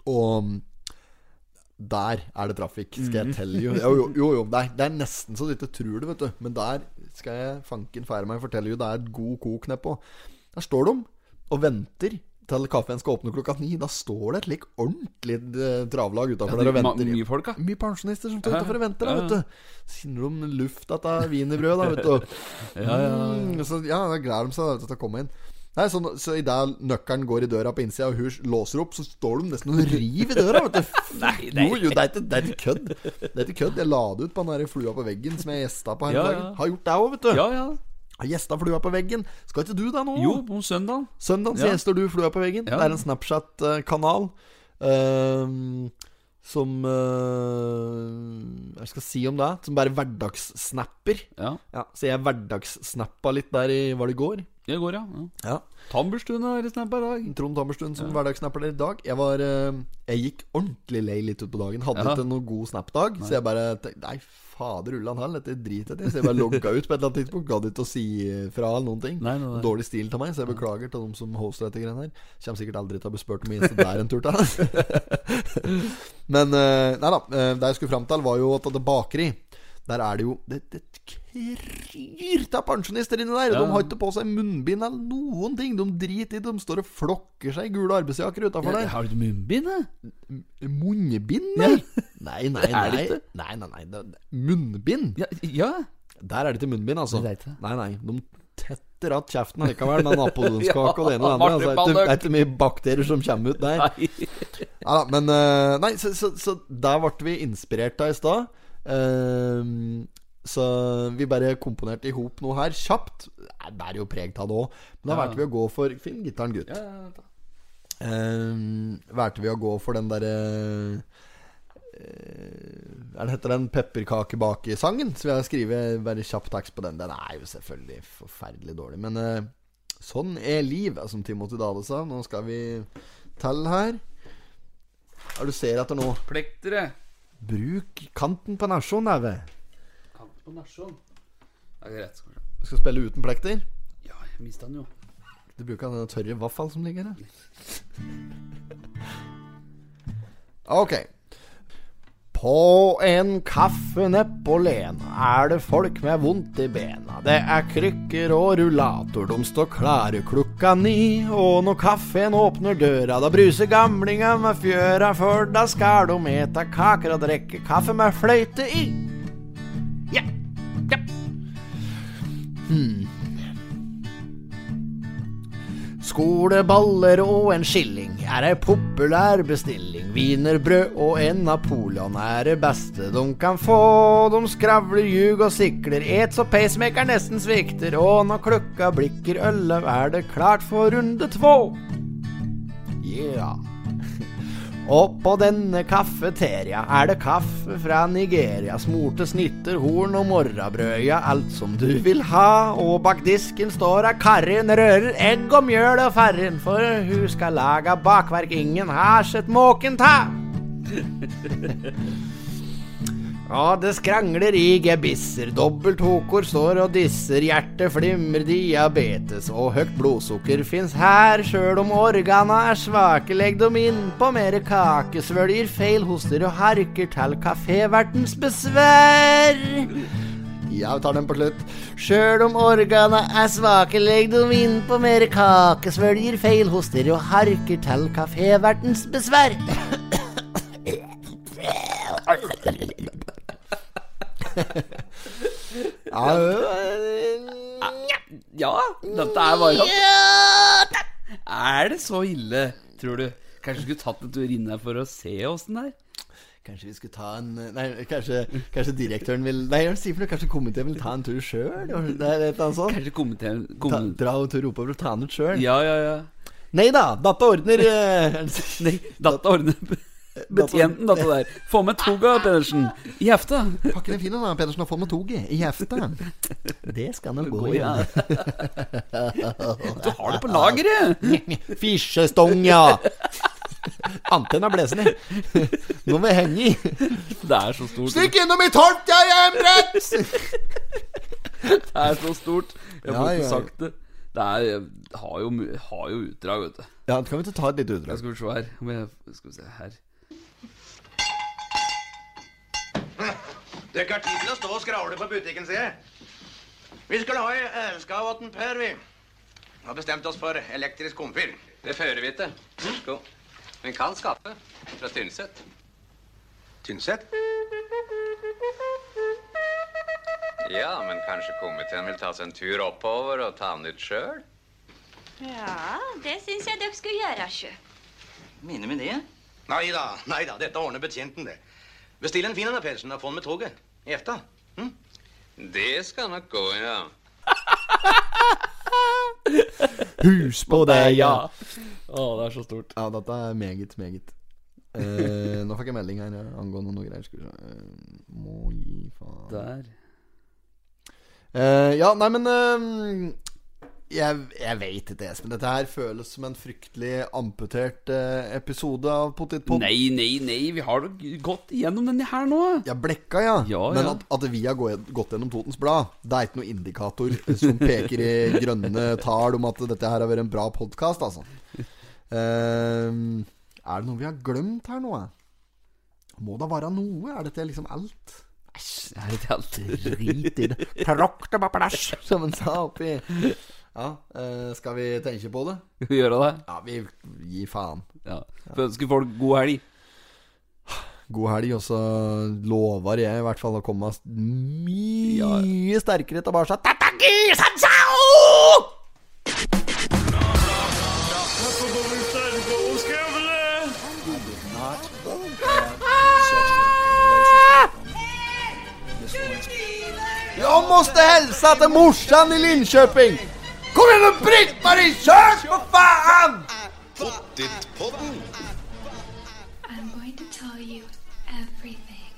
Speaker 1: Og mm, der er det trafikk, skal jeg telle you. Jo, jo, jo, jo det, er, det er nesten så du ikke tror det, vet du. Men der skal jeg fanken fære meg fortelle you. Det er et god kok nedpå. Der står de og venter til kaffen skal åpne klokka ni. Da står det et like ordentlig eh, travlag utafor der og
Speaker 2: Ma-
Speaker 1: venter.
Speaker 2: Mye folk, da.
Speaker 1: Mye pensjonister som står utafor og venter, da,
Speaker 2: Ja, ja.
Speaker 1: vet du. Så Kjenner de luft av dette wienerbrødet, da, vet du. ja, ja, ja. Så ja, da gleder de seg da, vet du, til å komme inn. Nei, så, så idet nøkkelen går i døra på innsida, og hun låser opp, så står de nesten og river i døra, vet du.
Speaker 2: Nei, nei.
Speaker 1: Jo, jo, det er ikke, det er ikke kødd. Det er ikke kødd. Jeg la det ut på den der flua på veggen som jeg gjesta på her
Speaker 2: Ja,
Speaker 1: om
Speaker 2: ja.
Speaker 1: dagen. Har gjort det òg, vet du.
Speaker 2: Ja, ja.
Speaker 1: Har gjesta flua på veggen. Skal ikke du det nå?
Speaker 2: Jo, om søndagen.
Speaker 1: Søndag så
Speaker 2: Ja.
Speaker 1: gjester du Flua på veggen.
Speaker 2: Ja.
Speaker 1: Det er en Snapchat-kanal ehm, som eh, Hva skal jeg si om det? Som bare hverdagssnapper.
Speaker 2: Ja.
Speaker 1: Ja, så jeg hverdagssnappa litt der i Var det i går?
Speaker 2: Det går, ja. ja.
Speaker 1: Ja.
Speaker 2: Tamburstuen er i snap i dag.
Speaker 1: Trond Tammerstuen som hverdagssnapper der i dag. Jeg var eh, Jeg gikk ordentlig lei litt utpå dagen. Hadde
Speaker 2: Ja.
Speaker 1: ikke noen god snap-dag. Så jeg bare tenkte Nei, fader ullan hall, dette driter jeg i. Så jeg bare logga ut på et eller annet tidspunkt. Gadd ikke å si fra eller noen ting.
Speaker 2: Nei, nei, nei.
Speaker 1: Dårlig stil til meg, så jeg beklager til dem som hoster dette greiene her. Kommer sikkert aldri til å bli spurt om eneste der en tur til. Men eh, Nei da. eh, Det jeg skulle fram til, var jo at det bakeri Der er det jo Det, det kryr av pensjonister inni der. De har ikke på seg munnbind eller noen ting. De driter i det. De står og flokker seg i gule arbeidsjakker utafor der.
Speaker 2: Har du munnbind, da?
Speaker 1: Munnbind, nei? Nei, nei,
Speaker 2: er
Speaker 1: nei.
Speaker 2: det ikke.
Speaker 1: nei, nei, nei. det- det- Munnbind?
Speaker 2: Ja, ja.
Speaker 1: Der er det ikke munnbind, altså.
Speaker 2: Det er ikke.
Speaker 1: Nei, nei. De tetter att kjeften likevel med napoleonskake og det ene og det andre. Altså, det er ikke- det
Speaker 2: marsipanløk.
Speaker 1: er ikke mye bakterier som kommer ut der.
Speaker 2: Nei.
Speaker 1: Ja, da, men eh, Nei, så, så, så der ble vi inspirert av i stad. Ehm, så vi bare komponerte i hop noe her kjapt. Det bærer jo preg av det òg. Men da valgte vi å gå for Finn gitaren, gutt. Ehm, valgte vi å gå for den derre eh, Hva heter den pepperkakebakesangen? Så vi har skrevet bare kjapp tekst på den. Den er jo selvfølgelig forferdelig dårlig, men eh, sånn er livet, som Timothy Dale sa. Nå skal vi til her. Hva er det du ser etter nå?
Speaker 2: Plektere.
Speaker 1: Bruk kanten på nasjon, Neve.
Speaker 2: Kant på nasjon. Det er greit. skal vi se.
Speaker 1: Du skal spille uten plekter.
Speaker 2: Ja, jeg mista den jo.
Speaker 1: Du bruker den tørre vaffel som ligger her. Ok. På en kaffe nedpå Lena er det folk med vondt i bena. Det er krykker og rullator, de står klare klokka ni. Og når kaffen åpner døra, da bruser gamlinga med fjøra, for da skal de eta kaker og drikke kaffe med fløyte i. Ja, ja. Skoleballer og en skilling er ei populær bestilling. Wienerbrød og en Napoleon er det beste de kan få. De skravler, ljug og sikler, et så pacemaker nesten svikter. Og når klokka blikker elleve, er det klart for runde två. Yeah. Og på denne kafeteria er det kaffe fra Nigeria. Smorte snitter, horn og morrabrød, ja, alt som du vil ha. Og bak disken står ei Karin rører egg og mjøl og farren, for hun skal laga bakverk ingen har sett måken ta. Ja, det skrangler i gebisser. Dobbelt hokor står og disser. Hjertet flimmer, diabetes og høyt blodsukker fins her. Sjøl om organa er svake, legg dem inn på mere kake. Svølger feil, hoster og harker til kafévertens besvær. Ja, vi tar den på slutt. Sjøl om organa er svake, legg dem inn på mere kake. Svølger feil, hoster og harker til kafévertens besvær. ja, eh,
Speaker 2: Ja, dette er variant. Er det så ille, tror du? Kanskje du skulle tatt en tur inn her for å se åssen det er?
Speaker 1: Kanskje vi skulle ta en Nei, kanskje, kanskje direktøren vil Nei, jeg sier for noe, kanskje komiteen vil ta en tur sjøl? Sånn.
Speaker 2: Kanskje komiteen
Speaker 1: Ta-
Speaker 2: kom...
Speaker 1: Dra en tur oppover og ta den ut sjøl?
Speaker 2: Ja, ja, ja.
Speaker 1: Nei da, datta ordner eh,
Speaker 2: Nei, data ordner betjenten, data der. Få med toga, Pedersen. I hefta.
Speaker 1: Pakken er fin, da. Pedersen har fått med toget i hefta. Det skal nå gå, ja.
Speaker 2: Du har det på lageret!
Speaker 1: Fisjestong, ja. Antenna blåser ned. Nå må jeg henge i.
Speaker 2: Det er så stort.
Speaker 1: Stikk innom i tolvt, ja, jeg er brett!
Speaker 2: Det er så stort. Jeg
Speaker 1: Ja,
Speaker 2: får
Speaker 1: ja.
Speaker 2: ikke sagt det. Det er, har, jo, mu- har jo utdrag, vet du.
Speaker 1: Ja, kan vi ikke ta et lite
Speaker 2: Jeg
Speaker 1: utdrag?
Speaker 2: skal vi se her om jeg, Skal vi se her
Speaker 7: Det er ikke tid til å stå og skravle på butikken, sier jeg. Vi skulle ha ei elskav åtten Per, vi. Har bestemt oss for elektrisk komfyr.
Speaker 9: Det fører vi til. Sko. Men kan skaffe. Fra Tynset.
Speaker 7: Tynset?
Speaker 9: Ja, men kanskje komiteen vil ta seg en tur oppover og ta den ut sjøl?
Speaker 5: Ja, det syns jeg dere skulle gjøre, sjø.
Speaker 9: Mine med det?
Speaker 7: Nei da, nei da. Dette ordner betjenten, det. Bestill en fin en, da, Pedersen, og få den med toget. I efta. Hm?
Speaker 9: Det skal nok gå, ja.
Speaker 1: Hus på deg, ja.
Speaker 2: Eh, Å, det er så stort.
Speaker 1: Ja, dette er meget, meget. Eh, nå fikk jeg melding her ja, angående noe greier. Skal vi se eh, Må gi faen.
Speaker 2: Der.
Speaker 1: Eh, ja, nei, men eh, Jeg, jeg veit ikke, Espen. Dette her føles som en fryktelig amputert eh, episode av Potetpod.
Speaker 2: Nei, nei, nei. Vi har jo gått igjennom denne her nå.
Speaker 1: Ja, blekka, ja.
Speaker 2: Ja,
Speaker 1: Men
Speaker 2: ja.
Speaker 1: at, at vi har gå- gått gjennom Totens Blad, det er ikke noen indikator eh, som peker i grønne tall om at dette her har vært en bra podkast, altså. Ehm, er det noe vi har glemt her nå? eh? Må da være noe? Er dette liksom alt?
Speaker 2: Æsj, er det ikke alt?
Speaker 1: Drit i det. Tråkk det på plass, som han sa oppi Ja, eh, skal vi tenke på det?
Speaker 2: Skal vi gjøre det?
Speaker 1: Ja, vi gir faen.
Speaker 2: Ja. Får ønske folk god helg.
Speaker 1: God helg, og så lover jeg i hvert fall å komme mye sterkere tilbake. Tataki, sansao!
Speaker 3: not have sexual relations with women. Miss Lewinsky.
Speaker 1: Jeg måste hälsa til morsan i Linköping! Kom igjen, nå, Britt-Marie! Kjør, for faen!
Speaker 5: I'm going to tell you everything.